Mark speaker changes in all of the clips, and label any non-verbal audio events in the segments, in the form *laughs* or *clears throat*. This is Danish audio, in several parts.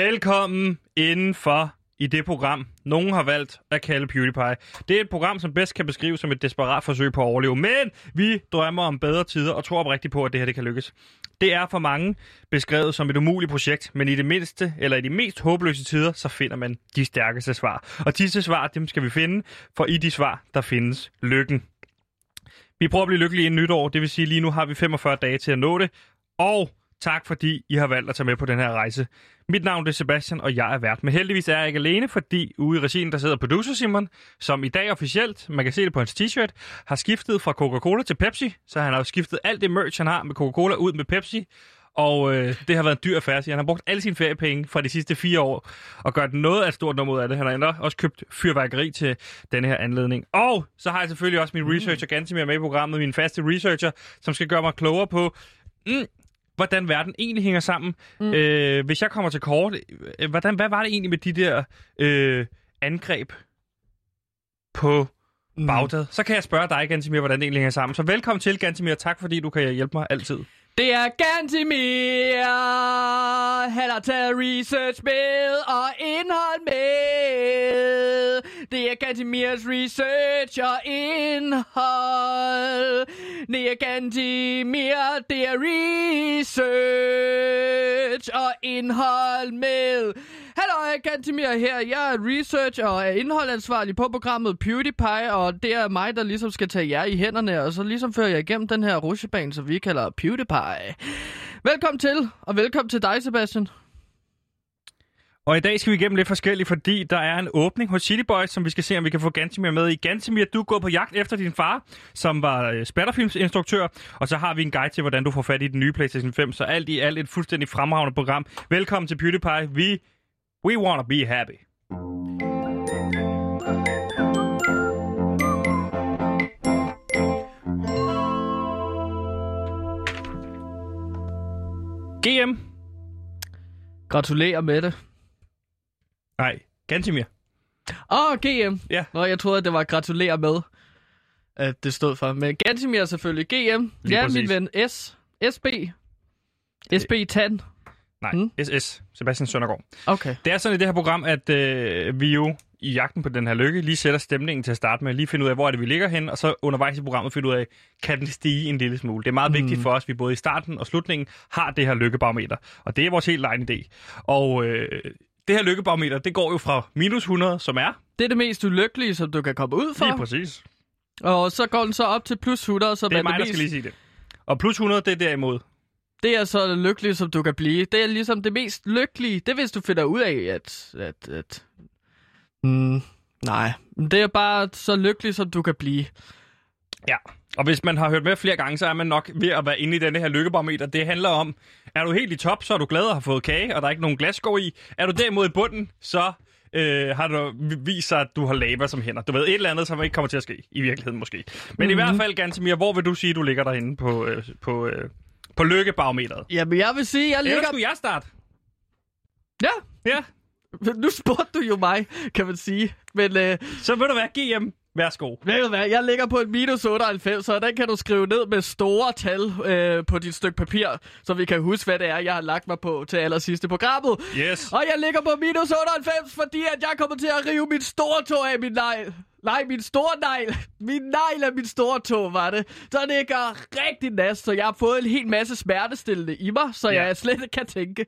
Speaker 1: Velkommen indenfor i det program, nogen har valgt at kalde PewDiePie. Det er et program, som bedst kan beskrives som et desperat forsøg på at overleve, men vi drømmer om bedre tider og tror oprigtigt på, at det her det kan lykkes. Det er for mange beskrevet som et umuligt projekt, men i det mindste, eller i de mest håbløse tider, så finder man de stærkeste svar. Og disse svar, dem skal vi finde, for i de svar, der findes lykken. Vi prøver at blive lykkelige inden nytår, det vil sige lige nu har vi 45 dage til at nå det, og tak fordi I har valgt at tage med på den her rejse. Mit navn det er Sebastian, og jeg er vært. Men heldigvis er jeg ikke alene, fordi ude i regien, der sidder producer Simon, som i dag officielt, man kan se det på hans t-shirt, har skiftet fra Coca-Cola til Pepsi. Så han har jo skiftet alt det merch, han har med Coca-Cola ud med Pepsi. Og øh, det har været en dyr affære, siger han. har brugt alle sine feriepenge fra de sidste fire år, og gør noget af et stort nummer ud af det. Han har endda også købt fyrværkeri til denne her anledning. Og så har jeg selvfølgelig også min researcher Gansimir med i programmet, min faste researcher, som skal gøre mig klogere på, mm, hvordan verden egentlig hænger sammen. Mm. Øh, hvis jeg kommer til kort, øh, hvordan, hvad var det egentlig med de der øh, angreb på
Speaker 2: Mm.
Speaker 1: Bagdad? Så kan jeg spørge dig, Gansimir, hvordan det egentlig hænger sammen. Så velkommen til, Gansimir. Tak, fordi du kan hjælpe mig altid.
Speaker 2: Det er Gantimir. Han har taget research med og indhold med. Det er Gantimirs research og indhold. Det er Gantimir, det er research og indhold med. Hallo, Gantimir her. Jeg er research og er indholdansvarlig på programmet PewDiePie, og det er mig, der ligesom skal tage jer i hænderne, og så ligesom fører jeg igennem den her rushebane, som vi kalder PewDiePie. Velkommen til, og velkommen til dig, Sebastian.
Speaker 1: Og i dag skal vi igennem lidt forskelligt, fordi der er en åbning hos City Boys, som vi skal se, om vi kan få Gantimir med i. Gantimir, du går på jagt efter din far, som var øh, spatterfilmsinstruktør, og så har vi en guide til, hvordan du får fat i den nye PlayStation 5. Så alt i alt et fuldstændig fremragende program. Velkommen til PewDiePie. Vi, we wanna be happy. GM.
Speaker 2: Gratulerer med det.
Speaker 1: Nej, Gantimir.
Speaker 2: Åh, oh, GM.
Speaker 1: Ja.
Speaker 2: Nå, jeg troede, at det var gratulerer med, at det stod for. Men Gantimir selvfølgelig. GM.
Speaker 1: Lige
Speaker 2: ja,
Speaker 1: præcis.
Speaker 2: min ven. S. SB. SB Tan.
Speaker 1: Nej,
Speaker 2: Mm.
Speaker 1: mm. SS. Sebastian Søndergaard.
Speaker 2: Okay.
Speaker 1: Det er sådan i det her program, at øh, vi jo i jagten på den her lykke lige sætter stemningen til at starte med. Lige finde ud af, hvor er det, vi ligger hen, og så undervejs i programmet finde ud af, kan den stige en lille smule. Det er meget mm. vigtigt for os, at vi både i starten og slutningen har det her lykkebarometer. Og det er vores helt egen idé. Og øh, det her lykkebarometer, det går jo fra minus 100, som er...
Speaker 2: Det er det mest ulykkelige, som du kan komme ud
Speaker 1: Lige
Speaker 2: for.
Speaker 1: præcis.
Speaker 2: Og så går den så op til plus 100, som
Speaker 1: Det er mig,
Speaker 2: det,
Speaker 1: der
Speaker 2: mest,
Speaker 1: skal lige sige det. Og plus 100, det er derimod.
Speaker 2: det er så det lykkelige, som du kan blive. Det er ligesom det mest lykkelige. Det er, hvis du finder ud af, at... at, at mm, nej. Det er bare så lykkelig, som du kan blive.
Speaker 1: Ja, og hvis man har hørt med flere gange, så er man nok ved at være inde i denne her lykkebarometer. Det handler om, er du helt i top, så er du glad og har fået kage, og der er ikke nogen glasgård i. Er du derimod i bunden, så øh, har du vi- vist sig, at du har laber som hænder. Du ved, et eller andet, som ikke kommer til at ske i virkeligheden måske. Men mm-hmm. i
Speaker 2: Mhm.
Speaker 1: hvert fald, Gantemir, hvor vil du sige, du ligger derinde på, øh, på, øh, på lykkebarometeret?
Speaker 2: Jamen, jeg vil sige, jeg
Speaker 1: Eller
Speaker 2: ligger...
Speaker 1: skulle jeg starte?
Speaker 2: Ja,
Speaker 1: Ja,
Speaker 2: nu spurgte du jo mig, kan man sige. Men øh,
Speaker 1: så vil du være GM. Værsgo.
Speaker 2: Ved du hvad, jeg ligger på en minus 98, så den kan du skrive ned med store tal øh, på dit stykke papir, så vi kan huske, hvad det er, jeg har lagt mig på til allersidst i programmet.
Speaker 1: Yes.
Speaker 2: Og jeg ligger på minus 98, fordi at jeg kommer til at rive min store tog af min negl. Nej, min store negl. Min negl af min store tog, var det. Så det gør rigtig nas, så jeg har fået en hel masse smertestillende i mig, så
Speaker 1: Ja.
Speaker 2: ja. jeg slet ikke kan tænke.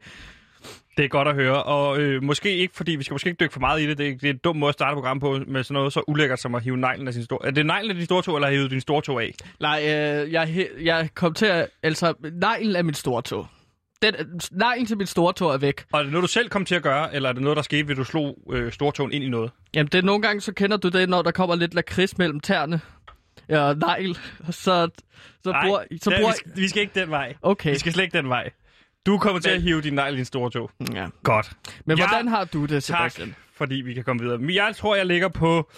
Speaker 1: Det er godt at høre, og øh, måske ikke, fordi vi skal måske ikke dykke for meget i det. Det er, det er en dum måde at starte program på med sådan noget så ulækkert som at hive neglen af sin store... Er det neglen af din store tog, eller har hivet din store tog af?
Speaker 2: Nej, øh, jeg, he- jeg kom til at... Altså, neglen af min store tog. Den, neglen til min store tog er væk.
Speaker 1: Og er det noget, du selv kom til at gøre, eller er det noget, der skete, ved du slog øh, stortåen ind i noget?
Speaker 2: Jamen, det er nogle gange, så kender du det, når der kommer lidt lakrids mellem tæerne. Ja, negl. Så, så bruger... Så
Speaker 1: der,
Speaker 2: bruger...
Speaker 1: vi, skal, vi skal ikke den vej.
Speaker 2: Okay.
Speaker 1: Vi skal slet ikke den vej. Du kommer til
Speaker 2: Men-
Speaker 1: at
Speaker 2: Mm.
Speaker 1: hive din negl i din store tog.
Speaker 2: Ja.
Speaker 1: Godt.
Speaker 2: Men
Speaker 1: Ja,
Speaker 2: hvordan har du det,
Speaker 1: Tak,
Speaker 2: Sebastian?
Speaker 1: fordi vi kan komme videre. Men Jeg tror, jeg ligger på...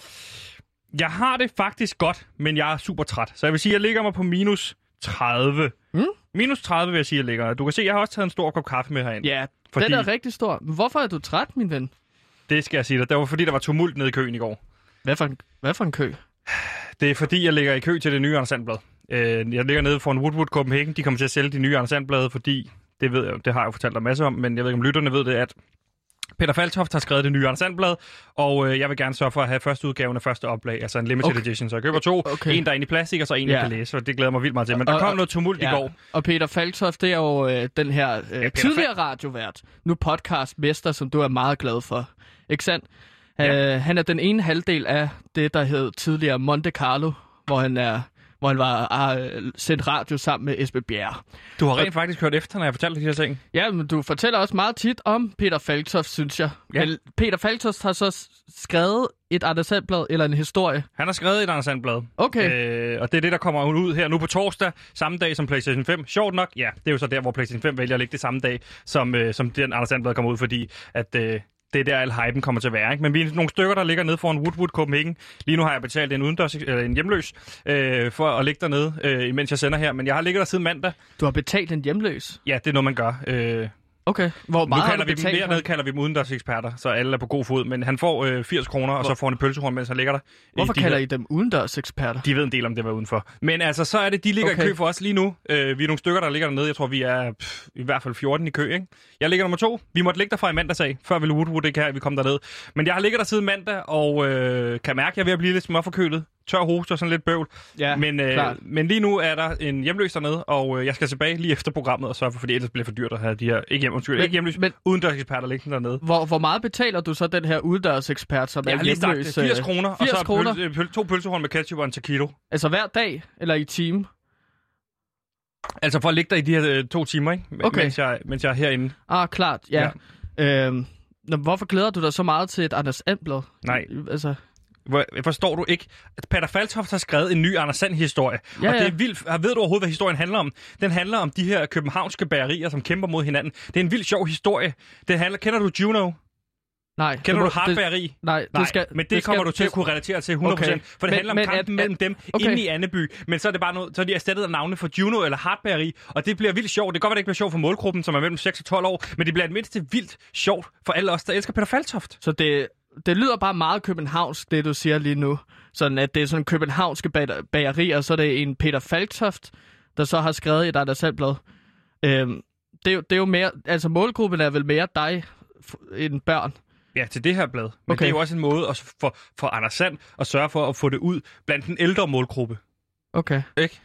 Speaker 1: Jeg har det faktisk godt, men jeg er super træt. Så jeg vil sige, jeg ligger mig på minus 30.
Speaker 2: Mm.
Speaker 1: Minus 30 vil jeg sige, jeg ligger. Du kan se, jeg har også taget en stor kop kaffe med herind.
Speaker 2: Ja,
Speaker 1: Fordi-
Speaker 2: fordi... den er rigtig stor. Men hvorfor er du træt, min ven?
Speaker 1: Det skal jeg sige dig. Det var fordi, der var tumult nede i køen i går.
Speaker 2: Hvad for en, hvad for en kø?
Speaker 1: Det er fordi, jeg ligger i kø til det nye Anders Sandblad. Øh, jeg ligger nede foran Woodwood Copenhagen. De kommer til at sælge de nye Anders Sandblad, fordi det ved jeg, jo, det har jeg jo fortalt dig masser om, men jeg ved ikke, om lytterne ved det, at Peter Faltoft har skrevet det nye Anders Sandblad, og øh, jeg vil gerne sørge for at have første udgaven af første oplag, altså en limited
Speaker 2: Okay.
Speaker 1: okay. edition. Så jeg køber to.
Speaker 2: Okay.
Speaker 1: Okay. En, der er inde i plastik, og så en, jeg
Speaker 2: Ja.
Speaker 1: kan læse, og det glæder mig vildt meget til. Men der
Speaker 2: Og- og-
Speaker 1: kom noget tumult
Speaker 2: Ja.
Speaker 1: i går.
Speaker 2: Og Peter Falktoft, det er jo øh, den her øh, ja, tidligere radiovært, nu podcastmester, som du er meget glad for. Ikke sandt? Ja. Øh, han er den ene halvdel af det, der hed tidligere Monte Carlo, hvor han er hvor han var øh, sendt radio sammen med Esben Bjerre.
Speaker 1: Du har rent faktisk hørt efter, når jeg fortalte de her ting.
Speaker 2: Ja, men du fortæller også meget tit om Peter Falktoft, synes jeg.
Speaker 1: Ja.
Speaker 2: Men Peter Falktoft har så s- skrevet et Anders Sandblad eller en historie.
Speaker 1: Han har skrevet et Anders Sandblad.
Speaker 2: Okay.
Speaker 1: Øh, og det er det, der kommer ud her nu på torsdag, samme dag som PlayStation 5. Sjovt nok, ja, det er jo så der, hvor PlayStation 5 vælger at lægge det samme dag, som, øh, som den Anders Sandblad kommer ud, fordi at, øh, det er der, al hypen kommer til at være. Ikke? Men vi er nogle stykker, der ligger nede foran Woodwood Copenhagen. Lige nu har jeg betalt en, udendørs, eller en hjemløs øh, for at ligge dernede, øh, imens jeg sender her. Men jeg har ligget der siden mandag.
Speaker 2: Du har betalt en hjemløs.
Speaker 1: Ja, det er noget, man gør. Øh,
Speaker 2: Okay. Hvor
Speaker 1: nu
Speaker 2: meget har
Speaker 1: kalder
Speaker 2: du
Speaker 1: vi dem,
Speaker 2: betalt? ham?
Speaker 1: dernede kalder vi dem udendørseksperter, så alle er på god fod. Men han får øh, 80 kroner, og så får han et pølsehorn, mens han ligger der.
Speaker 2: Hvorfor
Speaker 1: I de her-
Speaker 2: kalder I dem udendørseksperter?
Speaker 1: de ved en del om det, hvad udenfor. Men altså, så er det, de ligger
Speaker 2: Okay.
Speaker 1: okay. i kø for os lige nu. Øh, vi er nogle stykker, der ligger dernede. Jeg tror, vi er pff, i hvert fald 14 i kø, ikke? Jeg ligger nummer to. Vi måtte ligge der fra i mandags af, før ville Woodwood ikke her, vi kom derned. Men jeg har ligget der siden mandag, og øh, kan mærke, at jeg er ved at blive lidt småforkølet. Tør hoste og sådan lidt bøvl.
Speaker 2: Ja,
Speaker 1: men, øh,
Speaker 2: klart.
Speaker 1: men lige nu er der en hjemløs dernede, og øh, jeg skal tilbage lige efter programmet og sørge for, fordi ellers bliver det for dyrt at have de her, ikke, hjem, undskyld,
Speaker 2: Men-
Speaker 1: ikke hjemløse,
Speaker 2: men-
Speaker 1: men, udendørseksperter liggende dernede.
Speaker 2: Hvor, hvor meget betaler du så den her udendørsekspert, som
Speaker 1: Jeg
Speaker 2: er
Speaker 1: har lige sagt det.
Speaker 2: hjemløs? øh,
Speaker 1: 80 kroner,
Speaker 2: 80
Speaker 1: og så
Speaker 2: kroner.
Speaker 1: Pøl, pøl, to pølsehorn med ketchup og en taquito.
Speaker 2: Altså hver dag, eller i time?
Speaker 1: Altså for at ligge der i de her øh, to timer, ikke? M-
Speaker 2: Okay.
Speaker 1: Mens, jeg, mens jeg er herinde.
Speaker 2: Ah, klart, ja. ja. Øhm, nå, hvorfor glæder du dig så meget til et Anders Amblad?
Speaker 1: Nej.
Speaker 2: Altså,
Speaker 1: Hvor- Forstår du ikke? at Peter Faltoft har skrevet en ny Anders Sand-historie.
Speaker 2: Ja,
Speaker 1: Ja, og det
Speaker 2: ja.
Speaker 1: er vildt. Og Ved du overhovedet, hvad historien handler om? Den handler om de her københavnske bagerier, som kæmper mod hinanden. Det er en vild sjov historie. Det handler... Kender du Juno?
Speaker 2: nej. det
Speaker 1: Kender
Speaker 2: må-
Speaker 1: du Hart
Speaker 2: det-
Speaker 1: Bageri?
Speaker 2: Nej,
Speaker 1: Nej,
Speaker 2: det skal,
Speaker 1: men det, kommer
Speaker 2: skal,
Speaker 1: du til at
Speaker 2: det-
Speaker 1: kunne relatere til 100%, okay.
Speaker 2: Okay.
Speaker 1: for det
Speaker 2: Men-
Speaker 1: men, handler om
Speaker 2: men at-
Speaker 1: kampen
Speaker 2: at-
Speaker 1: mellem dem
Speaker 2: okay.
Speaker 1: okay. inde i Anneby, men så er det bare noget, så er de erstattet af navne for Juno eller Hardberry, og det bliver vildt sjovt. Det kan godt være, det ikke bliver sjovt for målgruppen, som er mellem 6 og 12 år, men det bliver det mindste vildt sjovt for alle os, der elsker Peter Faltoft.
Speaker 2: Så det, det lyder bare meget københavnsk, det du siger lige nu. Sådan, at det er sådan københavnske bag- bagerier, og så er det en Peter Falktoft, der så har skrevet et Anders Sandblad. Øhm, det, er jo- det er jo mere, altså målgruppen er vel mere dig f- end børn.
Speaker 1: Ja, til det her blad. Men
Speaker 2: Okay.
Speaker 1: okay. det er jo også en måde at s- for, for Anders Sand at sørge for at få det ud blandt den ældre målgruppe.
Speaker 2: Okay.
Speaker 1: Ikke?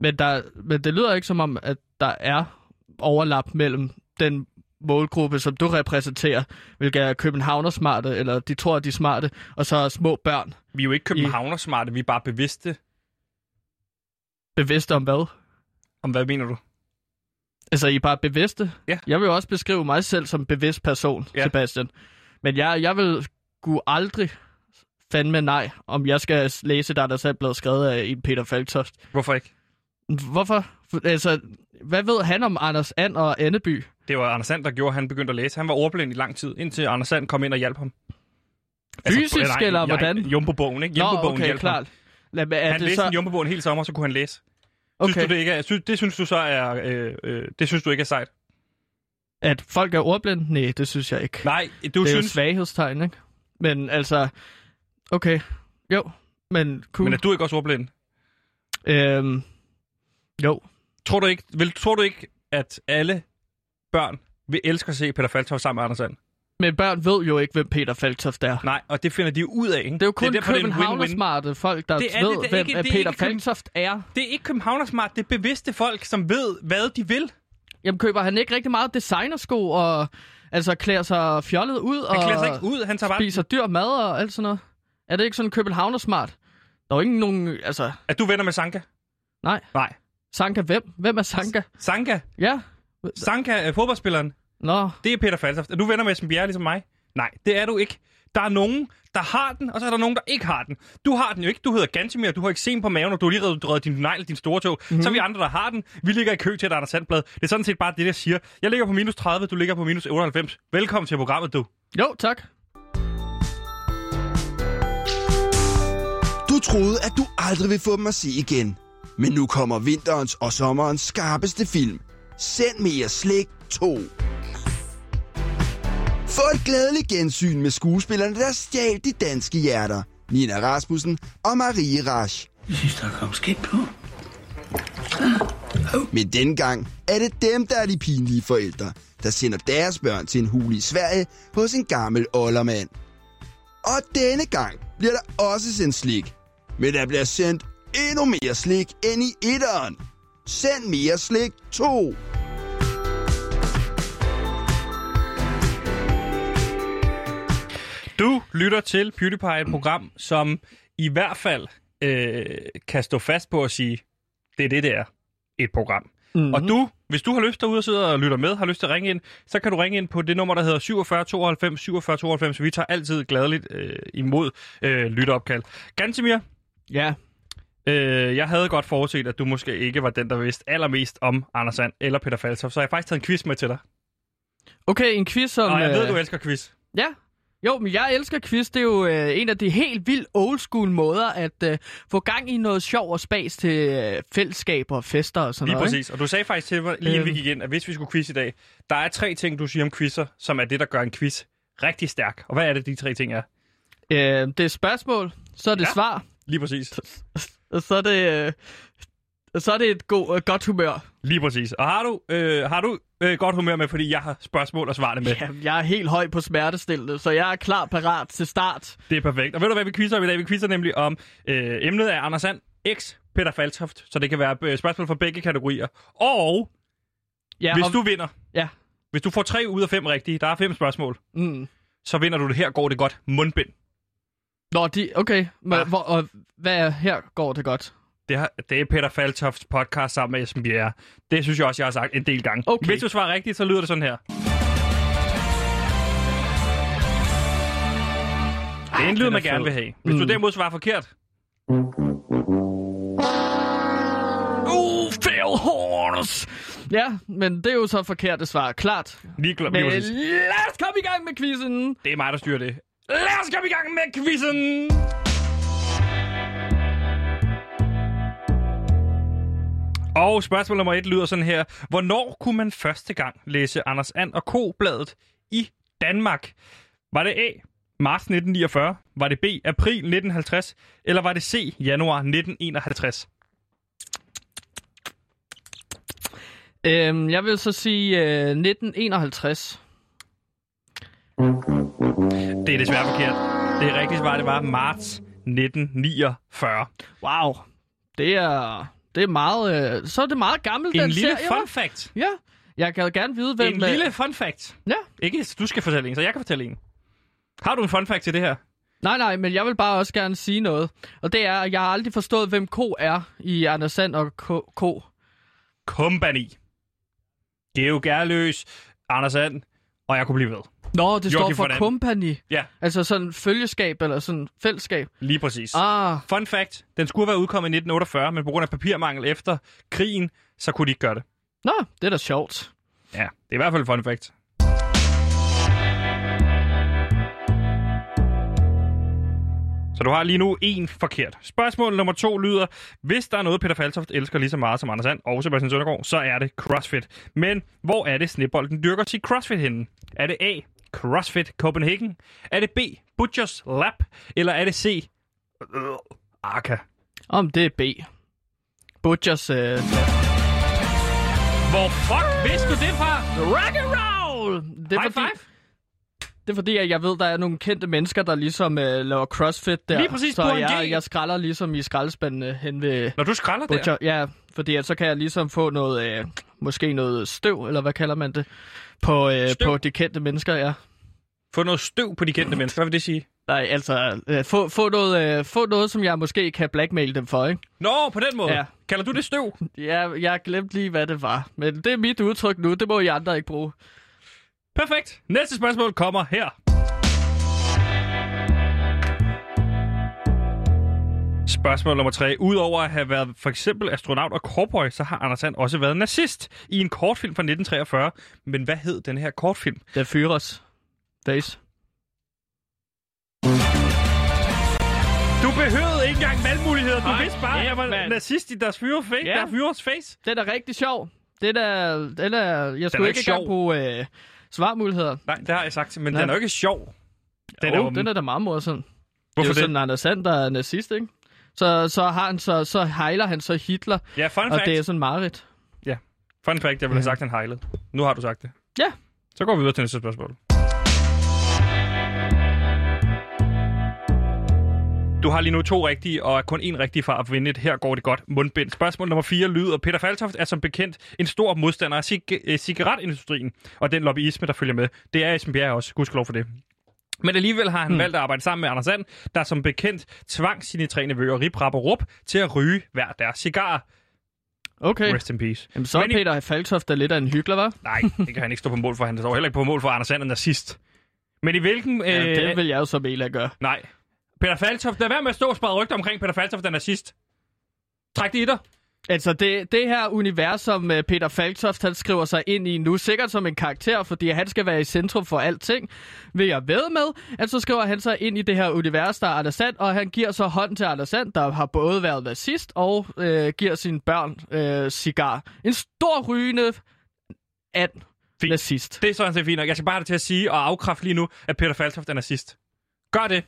Speaker 2: Men, der, men det lyder ikke som om, at der er overlap mellem den målgruppe, som du repræsenterer, hvilket er københavnersmarte, eller de tror, de er smarte, og så små børn.
Speaker 1: Vi er jo ikke københavnersmarte, vi er bare bevidste.
Speaker 2: Bevidste om hvad?
Speaker 1: Om hvad mener du?
Speaker 2: Altså, I er bare bevidste?
Speaker 1: Ja.
Speaker 2: Jeg vil jo også beskrive mig selv som bevidst person, ja.
Speaker 1: Ja.
Speaker 2: Sebastian. Men jeg, jeg vil kunne aldrig fandme nej, om jeg skal læse der, der selv blevet skrevet af en Peter Falktoft.
Speaker 1: Hvorfor ikke?
Speaker 2: Hvorfor? For- Altså, hvad ved han om Anders And og Anneby?
Speaker 1: Det var Anders Sand, der gjorde, at han begyndte at læse. Han var ordblind i lang tid, indtil Anders Sand kom ind og hjalp ham. Altså,
Speaker 2: Fysisk, eller hvordan?
Speaker 1: Jumbo-bogen, ikke?
Speaker 2: Nå,
Speaker 1: Jumbo-bogen
Speaker 2: okay,
Speaker 1: hjalp ham.
Speaker 2: klart. Lad, men er
Speaker 1: Han
Speaker 2: det
Speaker 1: læste
Speaker 2: så...
Speaker 1: en jumbo hele sommer, så kunne han læse. Synes
Speaker 2: Okay,
Speaker 1: du det ikke er, synes, det synes du så er, øh, øh, det synes du ikke er sejt?
Speaker 2: at folk er ordblinde? Nej, det synes jeg ikke.
Speaker 1: Nej, du
Speaker 2: det er jo
Speaker 1: synes,
Speaker 2: svaghedstegn, ikke? Men altså, okay, jo, men cool.
Speaker 1: men er du ikke også ordblind?
Speaker 2: Øhm, jo,
Speaker 1: Tror du ikke, vil, tror du ikke, at alle børn vil elske at se Peter Faltoft sammen med Anders Sand?
Speaker 2: men børn ved jo ikke, hvem Peter Falktoft er.
Speaker 1: Nej, og det finder de jo ud af, ikke?
Speaker 2: Det er jo kun det er
Speaker 1: derfor, det er en win-win.
Speaker 2: københavnersmarte folk, der
Speaker 1: Det er det,
Speaker 2: ved,
Speaker 1: det er
Speaker 2: hvem
Speaker 1: ikke-
Speaker 2: er
Speaker 1: det er
Speaker 2: Peter
Speaker 1: ikke Køben-
Speaker 2: Falktoft er.
Speaker 1: Det er ikke københavnersmart, det er bevidste folk, som ved, hvad de vil.
Speaker 2: Jamen, køber han ikke rigtig meget designersko og altså klæder sig fjollet ud og
Speaker 1: Han klæder sig ikke ud, han tager bare...
Speaker 2: spiser dyr mad og alt sådan noget? Er det ikke sådan københavnersmart? Der er jo ikke nogen... Altså,
Speaker 1: Er du venner med Sanka?
Speaker 2: nej.
Speaker 1: Nej.
Speaker 2: Sanka hvem? Hvem er Sanka?
Speaker 1: Sanka?
Speaker 2: Ja.
Speaker 1: Sanka, øh, fodboldspilleren,
Speaker 2: Nå,
Speaker 1: det er Peter Faltoft. Er du venner med Esben Bjerre ligesom mig? Nej, det er du ikke. Der er nogen, der har den, og så er der nogen, der ikke har den. Du har den jo ikke. Du hedder Gantemir, du har ikke sen på maven, og du har lige reddet, reddet din negl, din store tog. Mm-hmm. Så er vi andre, der har den. Vi ligger i kø til et Anders Sandblad. Det er sådan set bare det, jeg siger. Jeg ligger på minus 30, du ligger på minus 98. Velkommen til programmet, du.
Speaker 2: jo tak.
Speaker 3: Du troede, at du aldrig ville få dem at se igen. Men nu kommer vinterens og sommerens skarpeste film. Send mere slik 2. Få et glædeligt gensyn med skuespillerne, der stjal de danske hjerter. Nina Rasmussen og Marie Rasch.
Speaker 4: Jeg synes, der kom skidt på.
Speaker 3: Men dengang er det dem, der er de pinlige forældre, der sender deres børn til en hule i Sverige hos en gammel oldermand. Og denne gang bliver der også sendt slik. Men der bliver sendt endnu mere slik end i etteren. Send mere slik 2.
Speaker 1: Du lytter til PewDiePie, et program, som i hvert fald øh, kan stå fast på at sige, det er det, det er. Et program. Mm-hmm. Og du, hvis du har lyst derude og sidder og lytter med, har lyst til at ringe ind, så kan du ringe ind på det nummer, der hedder 47 92 47 92. Vi tager altid gladeligt øh, imod øh, lytteopkald. Gantemir,
Speaker 2: Ja.
Speaker 1: øh, jeg havde godt forudset, at du måske ikke var den, der vidste allermest om Anders Sand eller Peter Falsoff, så jeg har faktisk taget en quiz med til dig.
Speaker 2: Okay, en quiz som...
Speaker 1: Og jeg ved,
Speaker 2: øh,
Speaker 1: du elsker quiz.
Speaker 2: Ja. Jo, men jeg elsker quiz. Det er jo øh, en af de helt vildt old school måder at øh, få gang i noget sjov og spas til øh, fællesskaber og fester og sådan
Speaker 1: Lige
Speaker 2: noget. Øhm.
Speaker 1: præcis. Og du sagde faktisk til mig, lige inden vi gik ind, at hvis vi skulle quiz i dag, der er tre ting, du siger om quizzer, som er det, der gør en quiz rigtig stærk. Og hvad er det, de tre ting er?
Speaker 2: Ikke? Øh, det er spørgsmål, så er det
Speaker 1: Ja.
Speaker 2: ja. svar,
Speaker 1: Lige præcis.
Speaker 2: og så er det, øh, og så er det et god, øh, godt humør.
Speaker 1: Lige præcis. Og har du, øh, har du øh, godt humør med, fordi jeg har spørgsmål og svarene med?
Speaker 2: Jamen, jeg er helt høj på smertestillende, så jeg er klar parat til start.
Speaker 1: Det er perfekt. Og ved du, hvad vi quizzer om i dag? Vi quizzer nemlig om øh, emnet af Anders Sand, X Peter Faltoft, så det kan være øh, spørgsmål fra begge kategorier. Og
Speaker 2: Ja,
Speaker 1: hvis
Speaker 2: og-
Speaker 1: du vinder,
Speaker 2: Ja.
Speaker 1: hvis du får tre ud af fem rigtige, der er fem spørgsmål,
Speaker 2: Mm.
Speaker 1: så vinder du det her, går det godt, mundbind.
Speaker 2: Nå, de, okay. Men,
Speaker 1: Ah.
Speaker 2: hvor, og hvad er- her går det godt?
Speaker 1: Det, har, det er Peter Faltofts podcast sammen med Esben Bjerre. Det synes jeg også, jeg har sagt en del gange.
Speaker 2: Okay.
Speaker 1: Hvis du svarer rigtigt, så lyder det sådan her. Det er en lyd,
Speaker 2: Ah, den er
Speaker 1: man gerne
Speaker 2: fed. Mm.
Speaker 1: vil have. Hvis du derimod svarer forkert...
Speaker 2: Uh, fail horns! Ja, men det er jo så forkert det svar, klart.
Speaker 1: Lige glem,
Speaker 2: Men
Speaker 1: lige præcis.
Speaker 2: lad os komme i gang med quizzen!
Speaker 1: det er mig, der styrer det. Lad os komme i gang med quizzen! Og spørgsmål nummer et lyder sådan her. Hvornår kunne man første gang læse Anders And og K-bladet i Danmark? Var det A. Marts 1949? Var det B. April 1950? Eller var det C. Januar 1951?
Speaker 2: Øhm, jeg vil så sige øh, 1951.
Speaker 1: Det er desværre forkert. Det rigtige svar, det var marts 1949.
Speaker 2: Wow. Det er, det er meget... Øh, så er det meget gammelt,
Speaker 1: En
Speaker 2: den
Speaker 1: lille
Speaker 2: serie,
Speaker 1: fun
Speaker 2: hva'?
Speaker 1: fact.
Speaker 2: Ja, jeg kan jo gerne vide, hvem...
Speaker 1: En
Speaker 2: øh,
Speaker 1: lille fun fact.
Speaker 2: Ja.
Speaker 1: Ikke, du skal fortælle en, så jeg kan fortælle en. Har du en fun fact til det her?
Speaker 2: Nej, nej, men jeg vil bare også gerne sige noget. Og det er, at jeg har aldrig forstået, hvem K er i Anders Sand og K. K.
Speaker 1: Company. Geo Gerløs, Anders And, og jeg kunne blive ved.
Speaker 2: Nå, det står
Speaker 1: Joachim von
Speaker 2: for
Speaker 1: And.
Speaker 2: company.
Speaker 1: Ja,
Speaker 2: Altså sådan følgeskab eller sådan fællesskab.
Speaker 1: lige præcis.
Speaker 2: Ah,
Speaker 1: Fun fact, den skulle være udkommet i 1948, men på grund af papirmangel efter krigen, så kunne de ikke gøre det.
Speaker 2: nå, det er da sjovt.
Speaker 1: Ja, det er i hvert fald et fun fact. Så du har lige nu en forkert. Spørgsmål nummer to lyder, hvis der er noget, Peter Faltoft elsker lige så meget som Anders Sand og Sebastian Søndergaard, så er det CrossFit. Men hvor er det, Snebolden dyrker sit CrossFit henne? Er det A, CrossFit Copenhagen? Er det B, Butchers Lab? Eller er det C, øh, Arca?
Speaker 2: Om det er B. Butchers... Øh,
Speaker 1: Hvor fuck vidste du det fra?
Speaker 2: rock and roll! Det er
Speaker 1: High
Speaker 2: fordi,
Speaker 1: five!
Speaker 2: Det er fordi, at jeg ved, der er nogle kendte mennesker, der ligesom øh, laver crossfit der.
Speaker 1: Lige præcis
Speaker 2: så
Speaker 1: på en
Speaker 2: jeg,
Speaker 1: G.
Speaker 2: jeg skralder ligesom i skraldespandene hen ved
Speaker 1: Når du skralder der,
Speaker 2: butcher. Ja, fordi at så kan jeg ligesom få noget, øh, måske noget støv, eller hvad kalder man det, på, øh,
Speaker 1: Støv?
Speaker 2: på de kendte mennesker, ja.
Speaker 1: få noget støv på de kendte mennesker. Hvad vil det sige?
Speaker 2: Nej, altså, øh, få, få, noget, øh, få noget, som jeg måske kan blackmail dem for, ikke?
Speaker 1: Nå, på den måde. Ja.
Speaker 2: Ja.
Speaker 1: Kalder du det støv?
Speaker 2: Jeg, jeg glemte lige, hvad det var. Men det er mit udtryk nu, det må I andre ikke bruge.
Speaker 1: Perfekt. Næste spørgsmål kommer her. Spørgsmål nummer 3. Udover at have været for eksempel astronaut og cowboy, så har Anders Sand også været nazist i en kortfilm fra 1943. Men hvad hed den her kortfilm?
Speaker 2: Det er Fyros. Days.
Speaker 1: Du behøvede ikke engang valgmuligheder. Du
Speaker 2: Nej,
Speaker 1: vidste bare, at jeg var
Speaker 2: ikke, mand.
Speaker 1: nazist i deres fyre face.
Speaker 2: Ja.
Speaker 1: Ja. Deres face.
Speaker 2: Den er rigtig sjov. Den er, den er, jeg skulle
Speaker 1: ikke
Speaker 2: ikke engang
Speaker 1: sjov.
Speaker 2: bruge øh, svarmuligheder.
Speaker 1: Nej, det har jeg sagt, men
Speaker 2: Nej.
Speaker 1: den er jo ikke sjov. Den
Speaker 2: Den,
Speaker 1: er
Speaker 2: jo,
Speaker 1: jo-
Speaker 2: er, den er da meget morsom.
Speaker 1: Hvorfor
Speaker 2: det? er jo
Speaker 1: det?
Speaker 2: sådan, Anders Sand, der er nazist, ikke? Så, så, har han så, så hejler han så Hitler,
Speaker 1: Ja, fun
Speaker 2: og
Speaker 1: fact.
Speaker 2: det er sådan mareridt.
Speaker 1: Fun fact, jeg ville have sagt, han hejlede. Nu har du sagt det.
Speaker 2: Ja,
Speaker 1: Så går vi videre til næste spørgsmål. Du har lige nu to rigtige, og er kun én rigtig fra at vinde et Her går det godt mundbind. Spørgsmål nummer 4 lyder, Peter Faltoft er som bekendt en stor modstander af cig- øh, cigaretindustrien og den lobbyisme, der følger med. Det er Esben Bjerg også, gudskelov for det. Men alligevel har han hmm. valgt at arbejde sammen med Anders Sand, der som bekendt tvang sine tre nevøer Rip, Rap og Rup til at ryge hver deres cigar.
Speaker 2: Okay.
Speaker 1: Rest in peace.
Speaker 2: Jamen, så er
Speaker 1: Men i-
Speaker 2: Peter Falktoft der lidt af en hyggelig, hva'?
Speaker 1: Nej, det kan han ikke stå på mål for. Han står heller ikke på mål for, at Anders Sand er nazist. Men i hvilken... Øh,
Speaker 2: Øh, det vil jeg jo så mene at gøre.
Speaker 1: Nej. Peter Faltoft, lad være med at stå og sprede rygter omkring Peter Faltoft, der er nazist. Træk det i dig.
Speaker 2: Altså, det, det her univers, som øh, Peter Falktoft han skriver sig ind i nu, sikkert som en karakter, fordi han skal være i centrum for alting, vil jeg ved med, at så skriver han sig ind i det her univers, der er Anders Sand, og han giver så hånd til Anders Sand, der har både været nazist og øh, giver sine børn øh, cigar. En stor rygende and
Speaker 1: Fint.
Speaker 2: nazist.
Speaker 1: Det er sådan set fint nok. Jeg skal bare have det til at sige og afkræfte lige nu, at Peter Faltoft er nazist. Gør det.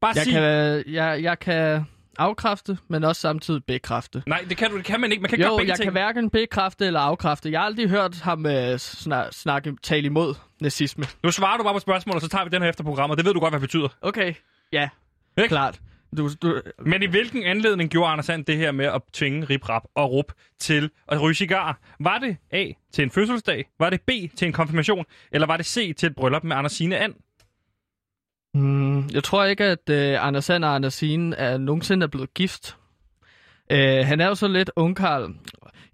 Speaker 1: Bare
Speaker 2: Jeg
Speaker 1: sig...
Speaker 2: kan, øh, jeg, jeg kan afkræfte, men også samtidig bekræfte.
Speaker 1: Nej, det kan du. Det kan man ikke. Man kan ikke
Speaker 2: Jo,
Speaker 1: gøre begge
Speaker 2: jeg
Speaker 1: ting.
Speaker 2: kan hverken bekræfte eller afkræfte. Jeg har aldrig hørt ham øh, snak, snakke, tale imod nazisme.
Speaker 1: Nu svarer du bare på spørgsmålet, og så tager vi den her efter programmet. Det ved du godt, hvad det betyder.
Speaker 2: Okay, ja,
Speaker 1: Ikke?
Speaker 2: klart. Du, du,
Speaker 1: Men i hvilken anledning gjorde Anders Sand det her med at tvinge Rip Rap og Rup til at ryge cigarer? Var det A til en fødselsdag? Var det B til en konfirmation? Eller var det C til et bryllup med Anders Sine And?
Speaker 2: mm, jeg tror ikke, at øh, Anders Sand og Anders Sine er nogensinde er blevet gift. Øh, han er jo så lidt ungkarl.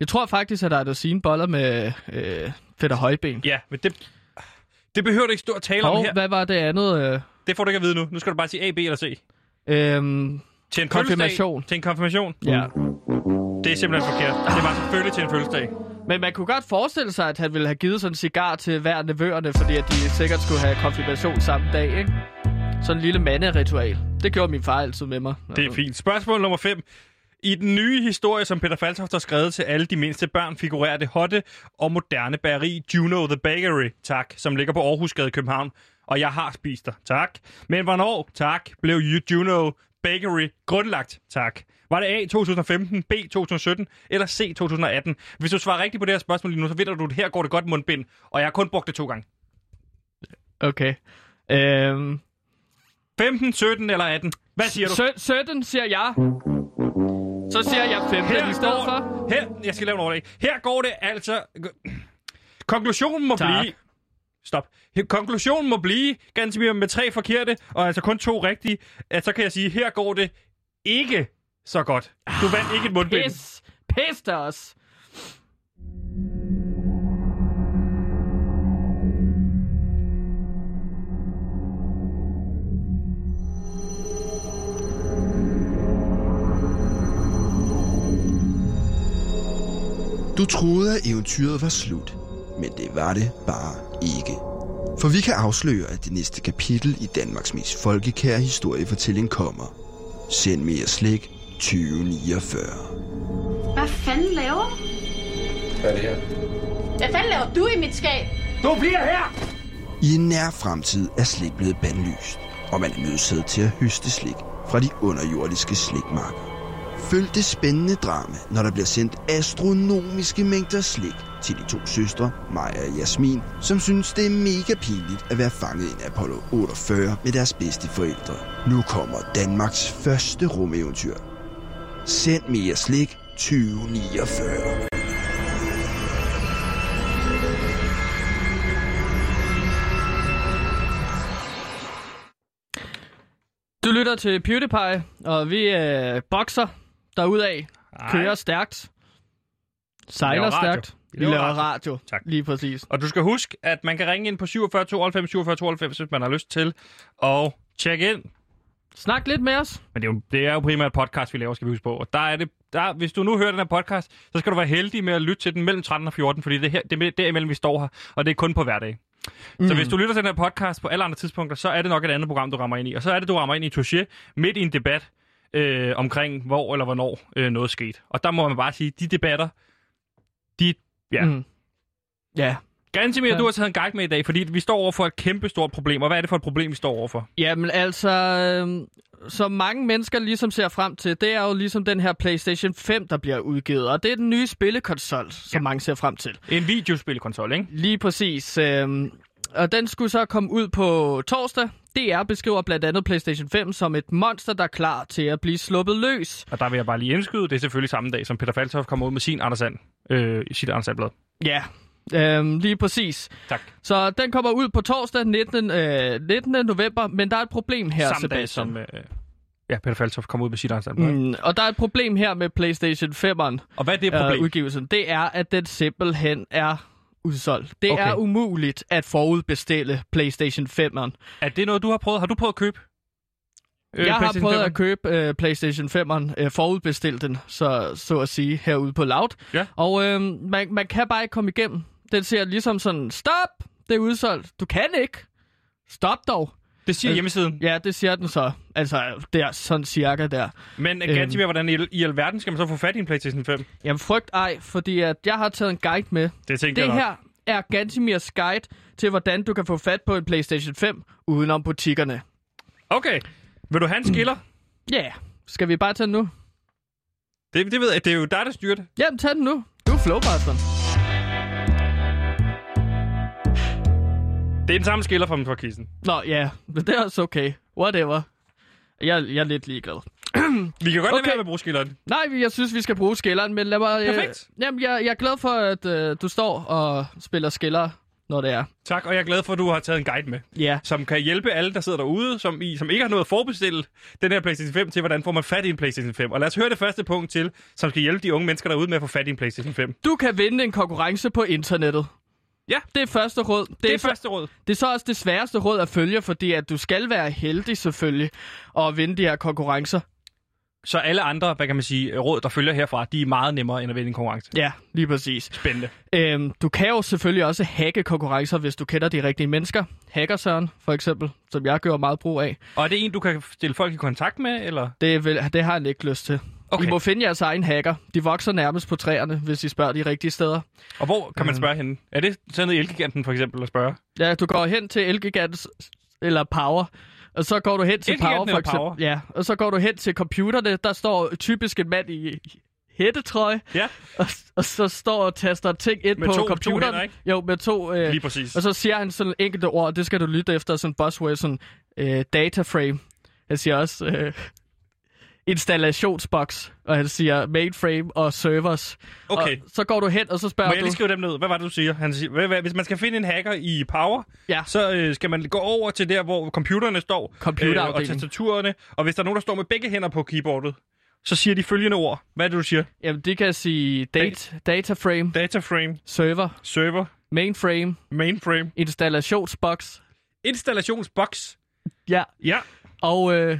Speaker 2: Jeg tror faktisk, at Anders Sine boller med øh, fætter højben.
Speaker 1: Ja, men det, det behøver du ikke stå og tale om
Speaker 2: Og
Speaker 1: her.
Speaker 2: hvad var det andet? Øh,
Speaker 1: Det får du ikke at vide nu. Nu skal du bare sige A, B eller C.
Speaker 2: øh,
Speaker 1: Til en
Speaker 2: Konfirmation.
Speaker 1: fødselsdag- Til en konfirmation.
Speaker 2: ja.
Speaker 1: Det er simpelthen forkert. Det var selvfølgelig til en fødselsdag.
Speaker 2: Men man kunne godt forestille sig, at han ville have givet sådan en cigar til hver af nevøerne, fordi at de sikkert skulle have konfirmation samme dag, ikke? Sådan en lille manderitual. Det gjorde min far altid med mig.
Speaker 1: Det er fint. Spørgsmål nummer 5. I den nye historie, som Peter Faltoft har skrevet til alle de mindste børn, figurerer det hotte og moderne bageri Juno The Bakery, tak, som ligger på Aarhusgade i København. Og jeg har spist dig, tak. Men hvornår, tak, blev Juno Bakery grundlagt, tak? Var det A 2015, B 2017 eller C 2018? Hvis du svarer rigtigt på det her spørgsmål lige nu, så vinder du, at her går det godt mundbind, og jeg har kun brugt det to gange.
Speaker 2: Okay. Øhm,
Speaker 1: 15, 17 eller 18? Hvad siger du?
Speaker 2: sø- 17 siger jeg. Så siger jeg 15 i stedet
Speaker 1: går,
Speaker 2: for.
Speaker 1: Her, jeg skal lave en overlæg. Her går det altså... Konklusionen må
Speaker 2: Tak.
Speaker 1: blive... Stop. Her- Konklusionen må blive, Gantemir, med tre forkerte, og altså kun to rigtige, at så kan jeg sige, her går det ikke så godt. Du vandt ikke et mundbind.
Speaker 2: Ah, Pis. Pis der os.
Speaker 3: Du troede, at eventyret var slut, men det var det bare ikke. For vi kan afsløre, at det næste kapitel i Danmarks mest folkekære historiefortælling kommer. Send mere slik 2049.
Speaker 4: Hvad fanden laver du? Hvad er det her? Hvad fanden laver du i mit skab?
Speaker 3: I en nær fremtid er slik blevet bandlyst, og man er nødsaget til at høste slik fra de underjordiske slikmarker. Følg det spændende drama, når der bliver sendt astronomiske mængder slik til de to søstre, Maja og Jasmin, som synes, det er mega pinligt at være fanget i en Apollo 48 med deres bedste forældre. Nu kommer Danmarks første rumeventyr. Send mere slik 2049.
Speaker 2: Du lytter til PewDiePie, og vi øh, bokser derudaf.
Speaker 1: Ej.
Speaker 2: Kører stærkt. Sejler
Speaker 1: laver radio.
Speaker 2: stærkt.
Speaker 1: Vi
Speaker 2: Vi
Speaker 1: laver
Speaker 2: laver
Speaker 1: radio.
Speaker 2: radio.
Speaker 1: Tak.
Speaker 2: Lige præcis.
Speaker 1: Og du skal huske, at man kan ringe ind på 47 92 47 92, hvis man har lyst til, og tjekke ind.
Speaker 2: Snak lidt med os.
Speaker 1: Men det er, jo, det er jo primært podcast, vi laver, skal vi huske på. Og der er det, der, hvis du nu hører den her podcast, så skal du være heldig med at lytte til den mellem 13 og 14, fordi det, er her, det er derimellem, vi står her, og det er kun på hverdag. Mm. Så hvis du lytter til den her podcast på alle andre tidspunkter, så er det nok et andet program, du rammer ind i. Og så er det, du rammer ind i Touché midt i en debat øh, omkring, hvor eller hvornår øh, noget skete. Og der må man bare sige, de debatter, de... Ja. Mm.
Speaker 2: Mm. Ja.
Speaker 1: Gansimir,
Speaker 2: Ja.
Speaker 1: du har taget en guide med i dag, fordi vi står over for et kæmpe stort problem. Og hvad er det for et problem, vi står overfor?
Speaker 2: Jamen altså, øhm, som mange mennesker ligesom ser frem til, det er jo ligesom den her PlayStation 5, der bliver udgivet. Og det er den nye spillekonsol, som mange ser frem til.
Speaker 1: En videospilkonsol, ikke?
Speaker 2: Lige præcis. Øhm, og den skulle så komme ud på torsdag. DR beskriver blandt andet PlayStation 5 som et monster, der er klar til at blive sluppet løs.
Speaker 1: Og der vil jeg bare lige indskyde, det er selvfølgelig samme dag, som Peter Faltoff kommer ud med sin Anders Sand, øh, sit Anders Sandblad.
Speaker 2: Ja, øhm, lige præcis.
Speaker 1: Tak.
Speaker 2: Så den kommer ud på torsdag 19. Øh, 19. november, men der er et problem her,
Speaker 1: samme dag,
Speaker 2: Sebastian.
Speaker 1: som øh, ja, Peter Faltoff kommer ud med sit Anders Sandblad. Mm.
Speaker 2: Mm, og der er et problem her med PlayStation 5'eren.
Speaker 1: Og hvad er det
Speaker 2: øh,
Speaker 1: problem?
Speaker 2: udgivelsen, det er, at den simpelthen er udsolgt. Det
Speaker 1: Okay.
Speaker 2: okay. er umuligt at forudbestille PlayStation 5'eren.
Speaker 1: er det noget, du har prøvet? Har du prøvet at købe? øh,
Speaker 2: Jeg har
Speaker 1: PlayStation
Speaker 2: prøvet
Speaker 1: 5'eren?
Speaker 2: at købe øh, PlayStation 5'eren, øh, forudbestilt den, så, så at sige, herude på Loud.
Speaker 1: Ja.
Speaker 2: Og øh, man, man kan bare ikke komme igennem. Den siger ligesom sådan, stop, det er udsolgt. Du kan ikke. Stop dog.
Speaker 1: Det siger
Speaker 2: Øh,
Speaker 1: hjemmesiden.
Speaker 2: Ja, det siger den så. Altså, der, sådan cirka der.
Speaker 1: Men øh,
Speaker 2: Øhm.
Speaker 1: Gantimir, hvordan i, i alverden skal man så få fat i en PlayStation 5?
Speaker 2: Jamen, frygt ej, fordi at jeg har taget en guide med,
Speaker 1: Det tænker
Speaker 2: Det
Speaker 1: jeg nok.
Speaker 2: her er Gantimirs guide til, hvordan du kan få fat på en PlayStation 5 udenom butikkerne.
Speaker 1: Okay. Vil du have en skiller?
Speaker 2: Ja, yeah. skal vi bare tage den nu?
Speaker 1: Det, det ved jeg. Det er jo dig, der styrer det.
Speaker 2: Jamen, tag den nu. Du er flowmasteren.
Speaker 1: Det er den samme skiller fra, fra kissen.
Speaker 2: Nå, ja, men det er også okay. Whatever. Jeg, jeg er lidt ligeglad.
Speaker 1: Vi kan godt okay. lade
Speaker 2: Okay.
Speaker 1: være med at bruge skilleren.
Speaker 2: Nej, jeg synes, vi skal bruge skilleren, men lad mig...
Speaker 1: Perfekt.
Speaker 2: Øh, jamen, jeg, jeg er glad for, at øh, du står og spiller skiller, når det er.
Speaker 1: Tak, og jeg er glad for, at du har taget en guide med,
Speaker 2: Ja.
Speaker 1: som kan hjælpe alle, der sidder derude, som, I, som ikke har noget at forbestille den her PlayStation 5 til, hvordan får man fat i en PlayStation 5. Og lad os høre det første punkt til, som skal hjælpe de unge mennesker derude med at få fat i en PlayStation 5. Det,
Speaker 2: Du kan vinde en konkurrence på internettet.
Speaker 1: Ja.
Speaker 2: Det er første råd. Det,
Speaker 1: det er første råd.
Speaker 2: Det er så også det sværeste råd at følge, fordi at du skal være heldig selvfølgelig og vinde de her konkurrencer.
Speaker 1: Så alle andre, hvad kan man sige, råd, der følger herfra, de er meget nemmere end at vinde en konkurrence.
Speaker 2: Ja, lige præcis.
Speaker 1: Spændende.
Speaker 2: Øhm, du kan jo selvfølgelig også hacke konkurrencer, hvis du kender de rigtige mennesker. Hackersøren, for eksempel, som jeg gør meget brug af.
Speaker 1: Og er det en, du kan stille folk i kontakt med, eller?
Speaker 2: Det, vil, det har han ikke lyst til.
Speaker 1: Okay.
Speaker 2: I må finde jeres egen hacker. De vokser nærmest på træerne, hvis I spørger de rigtige steder.
Speaker 1: Og hvor kan man spørge hende? Er det sådan noget i Elgiganten for eksempel at spørge?
Speaker 2: Ja, du går hen til Elgigant eller Power, og så går du hen til
Speaker 1: Elgiganten
Speaker 2: Power, for
Speaker 1: eller
Speaker 2: eksempel.
Speaker 1: Power?
Speaker 2: Ja, og så går du hen til computerne. Der står typisk en mand i hættetrøje,
Speaker 1: Ja,
Speaker 2: og, og så står og taster ting ind
Speaker 1: Med
Speaker 2: på
Speaker 1: to- to
Speaker 2: computeren.
Speaker 1: hænder, ikke?
Speaker 2: Jo, med to. Øh,
Speaker 1: lige præcis.
Speaker 2: og så siger han sådan enkelte ord, og det skal du lytte efter, sådan buzzword, sådan øh, data frame. Han siger også øh, installationsbox, og han siger mainframe og servers.
Speaker 1: Okay.
Speaker 2: Og så går du hen, og så spørger
Speaker 1: Må jeg
Speaker 2: du...
Speaker 1: lige skrive dem ned? Hvad var det, du siger? Han siger hvad, hvad, hvis man skal finde en hacker i Power,
Speaker 2: Ja.
Speaker 1: så øh, skal man gå over til der, hvor computerne står. øh, og
Speaker 2: Computerafdelingen.
Speaker 1: tastaturerne. Og hvis der er nogen, der står med begge hænder på keyboardet, så siger de følgende ord. Hvad er det, du siger?
Speaker 2: Jamen, det kan jeg sige date, data frame,
Speaker 1: Dataframe,
Speaker 2: server,
Speaker 1: server,
Speaker 2: mainframe,
Speaker 1: mainframe,
Speaker 2: installationsbox,
Speaker 1: installationsbox.
Speaker 2: ja,
Speaker 1: Ja,
Speaker 2: og, øh,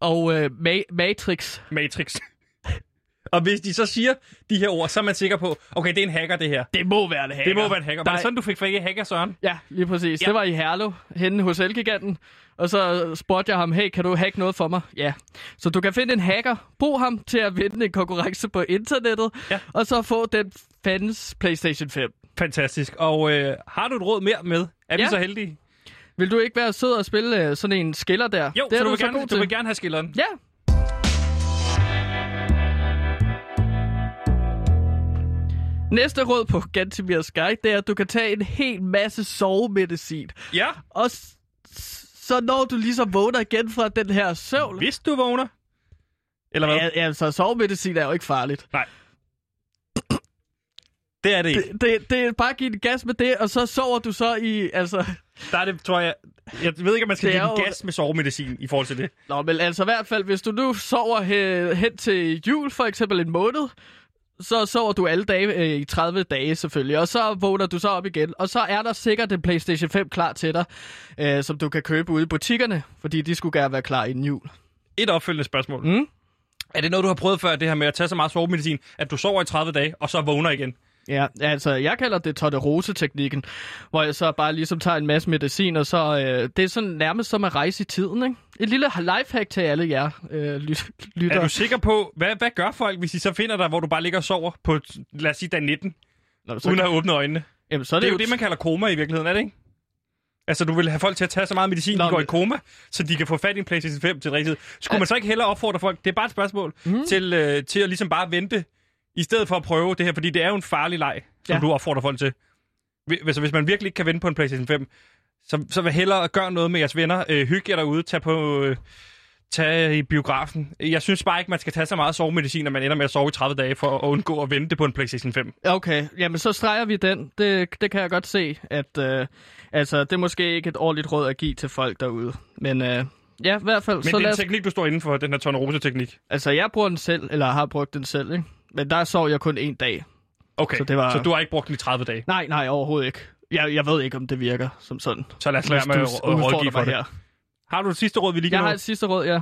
Speaker 2: og øh, ma- matrix.
Speaker 1: matrix. *laughs* og hvis de så siger de her ord, så er man sikker på, okay, det er en hacker, det her.
Speaker 2: Det må være det hacker.
Speaker 1: Det må være en hacker. Var det
Speaker 2: Nej.
Speaker 1: sådan, du fik fat i hacker, Søren?
Speaker 2: Ja, lige præcis.
Speaker 1: Ja.
Speaker 2: Ja. Det var i Herlev, henne hos Elgiganten. Og så spurgte jeg ham, hey, kan du hacke noget for mig? Ja. Så du kan finde en hacker, brug ham til at vinde en konkurrence på internettet,
Speaker 1: Ja.
Speaker 2: ja. og så få den fandens PlayStation 5.
Speaker 1: Fantastisk. Og øh, har du et råd mere med? Er vi
Speaker 2: Ja.
Speaker 1: så heldige?
Speaker 2: Vil du ikke være sød og spille øh, sådan en skiller der?
Speaker 1: Jo, så
Speaker 2: det er
Speaker 1: du,
Speaker 2: du
Speaker 1: vil
Speaker 2: så
Speaker 1: gerne,
Speaker 2: god
Speaker 1: du
Speaker 2: til.
Speaker 1: vil gerne have skilleren.
Speaker 2: Ja. Næste råd på Gantimirs Guide, det er, at du kan tage en hel masse sovemedicin.
Speaker 1: Ja,
Speaker 2: Og s- så når du ligesom vågner igen fra den her søvn...
Speaker 1: hvis du vågner. Eller hvad?
Speaker 2: Ja, altså, sovemedicin er jo ikke farligt.
Speaker 1: Det er det ikke.
Speaker 2: Det, det, det er bare at give den gas med det, og så sover du så i... Altså, *laughs*
Speaker 1: Der er det, tror jeg... Jeg ved ikke, om man skal
Speaker 2: Det
Speaker 1: give
Speaker 2: er
Speaker 1: den
Speaker 2: jo-
Speaker 1: gas med sovemedicin i forhold til det.
Speaker 2: nå, men altså i hvert fald, hvis du nu sover he, hen til jul, for eksempel en måned, så sover du alle dage øh, i 30 dage selvfølgelig, og så vågner du så op igen. Og så er der sikkert en PlayStation 5 klar til dig, øh, som du kan købe ude i butikkerne, fordi de skulle gerne være klar inden jul.
Speaker 1: Et opfølgende spørgsmål.
Speaker 2: Mm.
Speaker 1: Er det noget, du har prøvet før, det her med at tage så meget sovemedicin, at du sover i 30 dage, og så vågner igen?
Speaker 2: Ja, altså jeg kalder det Torderose-teknikken, hvor jeg så bare ligesom tager en masse medicin, og så øh, det er sådan nærmest som at rejse i tiden, ikke? Et lille lifehack til alle jer øh, lyt- lyttere.
Speaker 1: Er du sikker på, hvad, hvad gør folk, hvis de så finder dig, hvor du bare ligger og sover på, lad os sige, dag 19,
Speaker 2: Nå,
Speaker 1: så...
Speaker 2: så,
Speaker 1: uden at åbne øjnene?
Speaker 2: jamen, så er
Speaker 1: Det er jo det, man kalder koma i virkeligheden, er det ikke? Altså, du vil have folk til at tage så meget medicin,
Speaker 2: Nå,
Speaker 1: de går i
Speaker 2: men-
Speaker 1: koma, så de kan få fat i en PlayStation 5 til det rigtige. Skulle man så ikke hellere opfordre folk, det er bare et spørgsmål,
Speaker 2: Mhm.
Speaker 1: mm. til, øh, til at ligesom bare vente, i stedet for at prøve det her, fordi det er jo en farlig leg, som ja.
Speaker 2: Ja.
Speaker 1: du opfordrer folk til. Hvis, altså, hvis man virkelig ikke kan vente på en PlayStation 5, Så, så vil hellere gøre noget med jeres venner. Øh, hygge jer derude. Tag på... Øh, tage i biografen. Jeg synes bare ikke, man skal tage så meget sovemedicin, at man ender med at sove i 30 dage for at undgå at vente på en PlayStation 5.
Speaker 2: Okay, jamen så streger vi den. Det, det kan jeg godt se, at øh, altså, det er måske ikke et ordentligt råd at give til folk derude. Men øh, ja, i hvert fald,
Speaker 1: Men
Speaker 2: så
Speaker 1: det er
Speaker 2: lad
Speaker 1: en
Speaker 2: os...
Speaker 1: teknik, du står inden for, den her Tornerose-teknik.
Speaker 2: Altså, jeg bruger den selv, eller har brugt den selv, ikke? Men der sov jeg kun en dag.
Speaker 1: Okay,
Speaker 2: Så det var-
Speaker 1: så du har ikke brugt den i 30 dage.
Speaker 2: Nej, nej, overhovedet ikke. Jeg, jeg ved ikke, om det virker som sådan.
Speaker 1: Så lad os lade
Speaker 2: Hvis
Speaker 1: være med at
Speaker 2: du s-
Speaker 1: rå-
Speaker 2: udfordrer
Speaker 1: rådgive for
Speaker 2: mig
Speaker 1: det. Har du det sidste råd, vi lige kan
Speaker 2: Jeg
Speaker 1: nå?
Speaker 2: har et sidste råd, ja.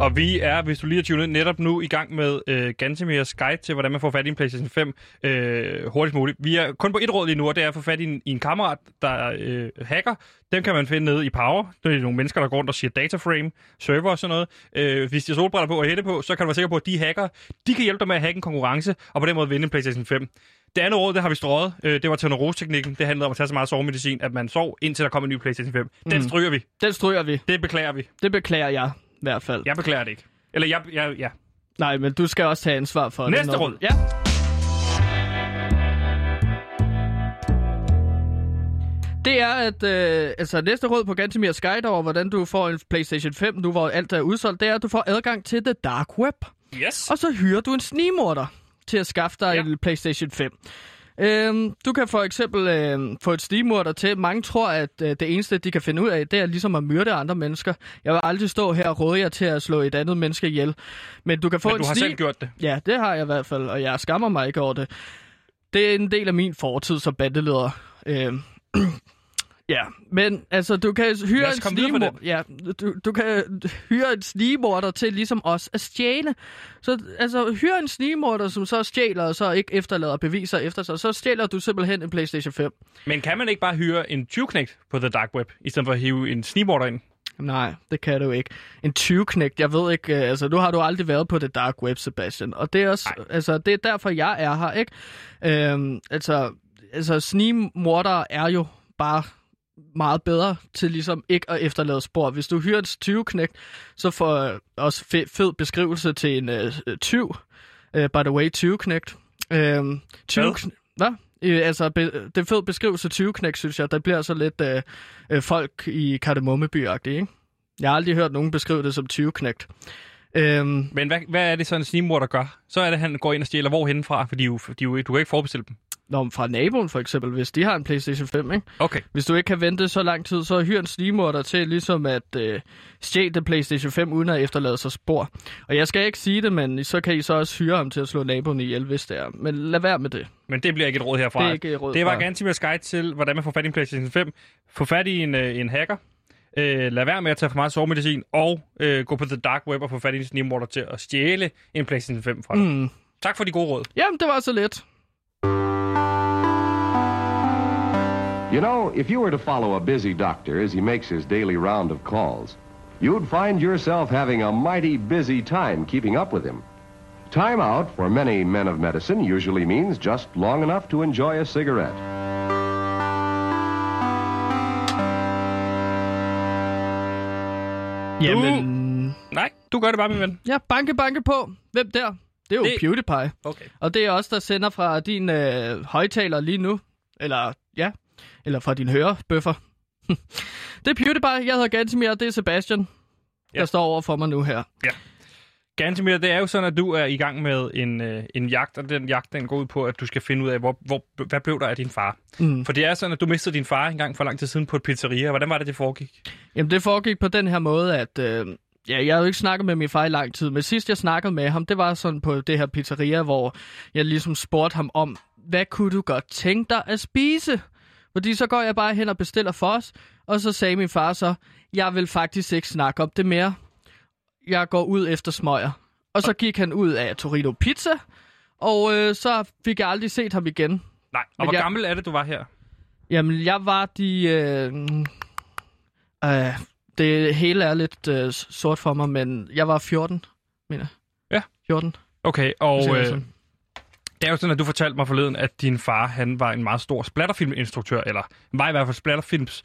Speaker 1: Og vi er, hvis du lige har tunet ind, netop nu i gang med øh, Gantemirs guide til, hvordan man får fat i en PlayStation 5 øh, hurtigst muligt. Vi er kun på et råd lige nu, og det er at få fat i en, i en kammerat, der øh, hacker. Dem kan man finde nede i Power. Det er nogle mennesker, der går rundt og siger dataframe, server og sådan noget. Øh, hvis de har solbriller på og hætte på, så kan du være sikker på, at de hacker. De kan hjælpe dig med at hacke en konkurrence, og på den måde vinde en PlayStation 5. Det andet råd, det har vi strøget. Øh, det var Tenorose-teknikken. Det handlede om at tage så meget sovemedicin, at man sov, indtil der kom en ny PlayStation 5. Den
Speaker 2: Mm.
Speaker 1: stryger vi.
Speaker 2: Den stryger vi.
Speaker 1: Det beklager vi.
Speaker 2: Det beklager jeg, i hvert fald.
Speaker 1: Jeg beklager det ikke. Eller jeg, jeg, ja.
Speaker 2: Nej, men du skal også tage ansvar for det.
Speaker 1: Næste
Speaker 2: når du-
Speaker 1: råd.
Speaker 2: Ja. Det er, at øh, altså, næste råd på Gantimir Sky over, hvordan du får en PlayStation 5, nu hvor alt er udsolgt, det er, at du får adgang til The Dark Web.
Speaker 1: Yes.
Speaker 2: Og så hyrer du en snigmorder til at skaffe dig
Speaker 1: Ja.
Speaker 2: ja. en PlayStation 5. Øhm, du kan for eksempel øhm, få et snigmorder til. Mange tror, at øh, det eneste, de kan finde ud af, det er ligesom at myrde andre mennesker. Jeg vil aldrig stå her og råde jer til at slå et andet menneske ihjel. Men du kan få
Speaker 1: Men
Speaker 2: en
Speaker 1: du har
Speaker 2: snig-
Speaker 1: selv gjort det.
Speaker 2: Ja, det har jeg i hvert fald, og jeg skammer mig ikke over det. Det er en del af min fortid som bandeleder. Øhm. *clears throat* ja, men altså, du kan
Speaker 1: Lad
Speaker 2: hyre
Speaker 1: os
Speaker 2: en
Speaker 1: komme videre fra
Speaker 2: snigmor- ja, du, du kan hyre en snigmorder til ligesom os at stjæle. Så altså, hyre en snigmorder, som så stjæler og så ikke efterlader beviser efter sig. Så stjæler du simpelthen en Playstation 5.
Speaker 1: Men kan man ikke bare hyre en tyvknægt på The Dark Web, i stedet for at hive en snigmorder ind?
Speaker 2: Nej, det kan du ikke. En 20-knægt, jeg ved ikke, øh, altså nu har du aldrig været på det dark web, Sebastian. Og det er også, altså det er derfor, jeg er her, ikke? Øhm, altså, altså snigmordere er jo bare meget bedre til ligesom ikke at efterlade spor. Hvis du hyrer en 20-knægt, så får øh, også fed, fed beskrivelse til en øh, øh, tyv. Øh, by the way, 20-knægt. Øhm, 20
Speaker 1: Hvad?
Speaker 2: Hvad? Hvad? Øh, altså, be, det er fed beskrivelse 20-knægt, synes jeg. Der bliver så lidt øh, øh, folk i kardemommeby ikke? Jeg har aldrig hørt nogen beskrive det som 20-knægt. Øhm,
Speaker 1: Men hvad, hvad er det så en snigmorder gør? Så er det, at han går ind og stjæler hvorhen fra, fordi jo, de jo, du kan ikke forbestille dem.
Speaker 2: Nå, men fra naboen for eksempel, hvis de har en Playstation 5, ikke?
Speaker 1: Okay.
Speaker 2: Hvis du ikke kan vente så lang tid, så hyr en snigmorder til ligesom at øh, stjæle den Playstation 5, uden at efterlade sig spor. Og jeg skal ikke sige det, men så kan I så også hyre ham til at slå naboen ihjel, hvis det er. Men lad være med det.
Speaker 1: Men det bliver ikke et råd herfra.
Speaker 2: Det er ikke et råd
Speaker 1: det var
Speaker 2: fra-
Speaker 1: Gantimers guide til, hvordan man får fat i en PlayStation 5. Få fat i en, øh, en hacker. Øh, lad være med at tage for meget sovemedicin, og øh, gå på The Dark Web og få fat i en snigmorder til at stjæle en PlayStation 5 fra dig. Mm.
Speaker 2: Mm.
Speaker 1: Tak for de gode råd.
Speaker 2: Jamen, det var så let.
Speaker 5: You know, if you were to follow a busy doctor as he makes his daily round of calls, you'd find yourself having a mighty busy time keeping up with him. Time out for many men of medicine usually means just long enough to enjoy a cigarette.
Speaker 2: Jamen...
Speaker 1: Nej, du gør det bare, min ven.
Speaker 2: Ja, banke, banke på. Hvem der? Det er jo
Speaker 1: Det-
Speaker 2: det... PewDiePie.
Speaker 1: Okay.
Speaker 2: Og det er også der sender fra din øh, højtaler lige nu. Eller, ja. Eller fra din hørebøffer. *laughs* det er PewDiePie. Jeg hedder Gantimir, og det er Sebastian,
Speaker 1: Ja.
Speaker 2: ja. der står over for mig nu her.
Speaker 1: Gantemir, det er jo sådan, at du er i gang med en, øh, en jagt, og den jagt den går ud på, at du skal finde ud af, hvor, hvor, hvad blev der af din far?
Speaker 2: Mm.
Speaker 1: For det er sådan, at du mistede din far engang for lang tid siden på et pizzeria. Hvordan var det, det foregik?
Speaker 2: Jamen, det foregik på den her måde, at... Øh, ja, jeg har jo ikke snakket med min far i lang tid, men sidst jeg snakkede med ham, det var sådan på det her pizzeria, hvor jeg ligesom spurgte ham om, hvad kunne du godt tænke dig at spise? Fordi så går jeg bare hen og bestiller for os, og så sagde min far så, jeg vil faktisk ikke snakke om det mere. Jeg går ud efter smøger. Og så gik han ud af Torino Pizza, og øh, så fik jeg aldrig set ham igen.
Speaker 1: Nej, og
Speaker 2: Men
Speaker 1: hvor
Speaker 2: jeg-
Speaker 1: gammel er det, du var her?
Speaker 2: Jamen, jeg var de... Øh, øh, det hele er lidt øh, sort for mig, men jeg var 14, mener jeg.
Speaker 1: Ja.
Speaker 2: 14.
Speaker 1: Okay, og
Speaker 2: Og,
Speaker 1: øh,
Speaker 2: øh,
Speaker 1: det er jo sådan, at du fortalte mig forleden, at din far han var en meget stor splatterfilminstruktør, eller var i hvert fald splatterfilms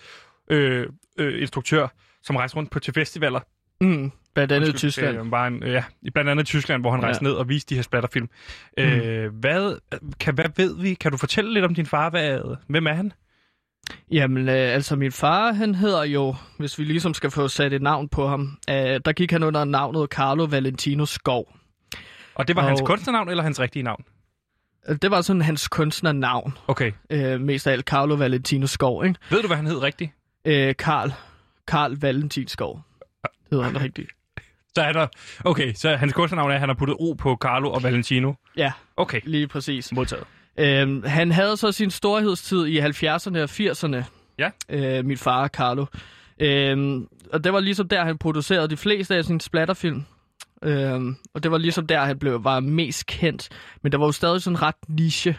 Speaker 1: øh, øh, instruktør, som rejste rundt på til festivaler
Speaker 2: mm, Blandt andet i
Speaker 1: Undskyld,
Speaker 2: Tyskland.
Speaker 1: øh, Var en, ja, i blandt andet i Tyskland, hvor han
Speaker 2: Ja.
Speaker 1: rejste ned og viste de her splatterfilm. Mm. Øh, hvad, kan, hvad ved vi? Kan du fortælle lidt om din far? Hvad, hvem er han?
Speaker 2: Jamen, øh, altså min far, han hedder jo, hvis vi ligesom skal få sat et navn på ham, øh, der gik han under navnet Carlo Valentino Skov.
Speaker 1: Og det var og... hans
Speaker 2: Og-
Speaker 1: kunstnernavn eller hans rigtige navn?
Speaker 2: Øh, Det var sådan hans kunstnernavn,
Speaker 1: Okay.
Speaker 2: øh, mest af alt Carlo Valentino Skov, ikke?
Speaker 1: Ved du, hvad han hed rigtigt?
Speaker 2: Øh, Carl, Carl Valentin Skov hedder han rigtigt.
Speaker 1: Så er der... Okay, så hans kunstnernavn er, at han har puttet O på Carlo og Valentino.
Speaker 2: Ja,
Speaker 1: Okay.
Speaker 2: lige præcis.
Speaker 1: Modtaget.
Speaker 2: Øhm, han havde så sin storhedstid i 70'erne og 80'erne.
Speaker 1: Ja.
Speaker 2: Øh, min far, Carlo. Øhm, og det var ligesom der, han producerede de fleste af sine splatterfilm. Øhm, og det var ligesom der, han blev, var mest kendt. Men der var jo stadig sådan ret niche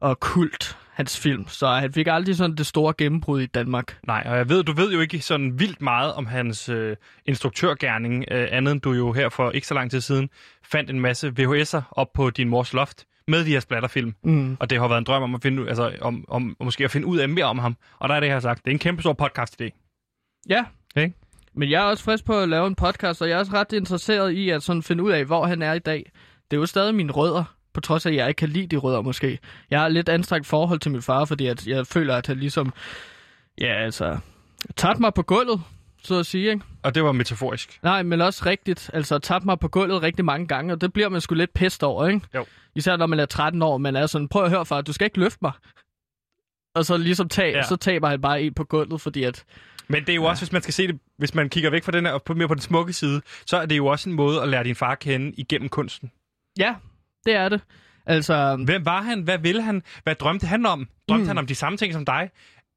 Speaker 2: og kult, hans film. Så han fik aldrig sådan det store gennembrud i Danmark.
Speaker 1: Nej, og jeg ved, du ved jo ikke sådan vildt meget om hans øh, instruktørgærning, øh, andet end du jo her for ikke så lang tid siden fandt en masse VHS'er op på din mors loft med de her splatterfilm.
Speaker 2: Mm.
Speaker 1: Og det har været en drøm om at finde, ud- altså, om, om, måske at finde ud af mere om ham. Og der er det, jeg har sagt. Det er en kæmpe stor podcast-idé.
Speaker 2: Ja.
Speaker 1: Ikke?
Speaker 2: Men jeg er også frisk på at lave en podcast, og jeg er også ret interesseret i at sådan finde ud af, hvor han er i dag. Det er jo stadig mine rødder, på trods af, at jeg ikke kan lide de rødder måske. Jeg har et lidt anstrengt forhold til min far, fordi at jeg føler, at han ligesom... Ja, altså... Tabte mig på gulvet, så at sige, ikke?
Speaker 1: Og det var metaforisk.
Speaker 2: Nej, men også rigtigt. Altså, tabte mig på gulvet rigtig mange gange, og det bliver man sgu lidt pest over, ikke?
Speaker 1: Jo.
Speaker 2: Især når man er 13 år, man er sådan, prøv at høre, far, du skal ikke løfte mig. Og så ligesom tag,
Speaker 1: Ja.
Speaker 2: ja. så taber han bare en på gulvet, fordi at
Speaker 1: Men det er jo ja. også, hvis man skal se det, hvis man kigger væk fra den her, og på, mere på den smukke side, så er det jo også en måde at lære din far at kende igennem kunsten.
Speaker 2: Ja, det er det. Altså,
Speaker 1: Hvem var han? Hvad ville han? Hvad drømte han om? Drømte mm. han om de samme ting som dig?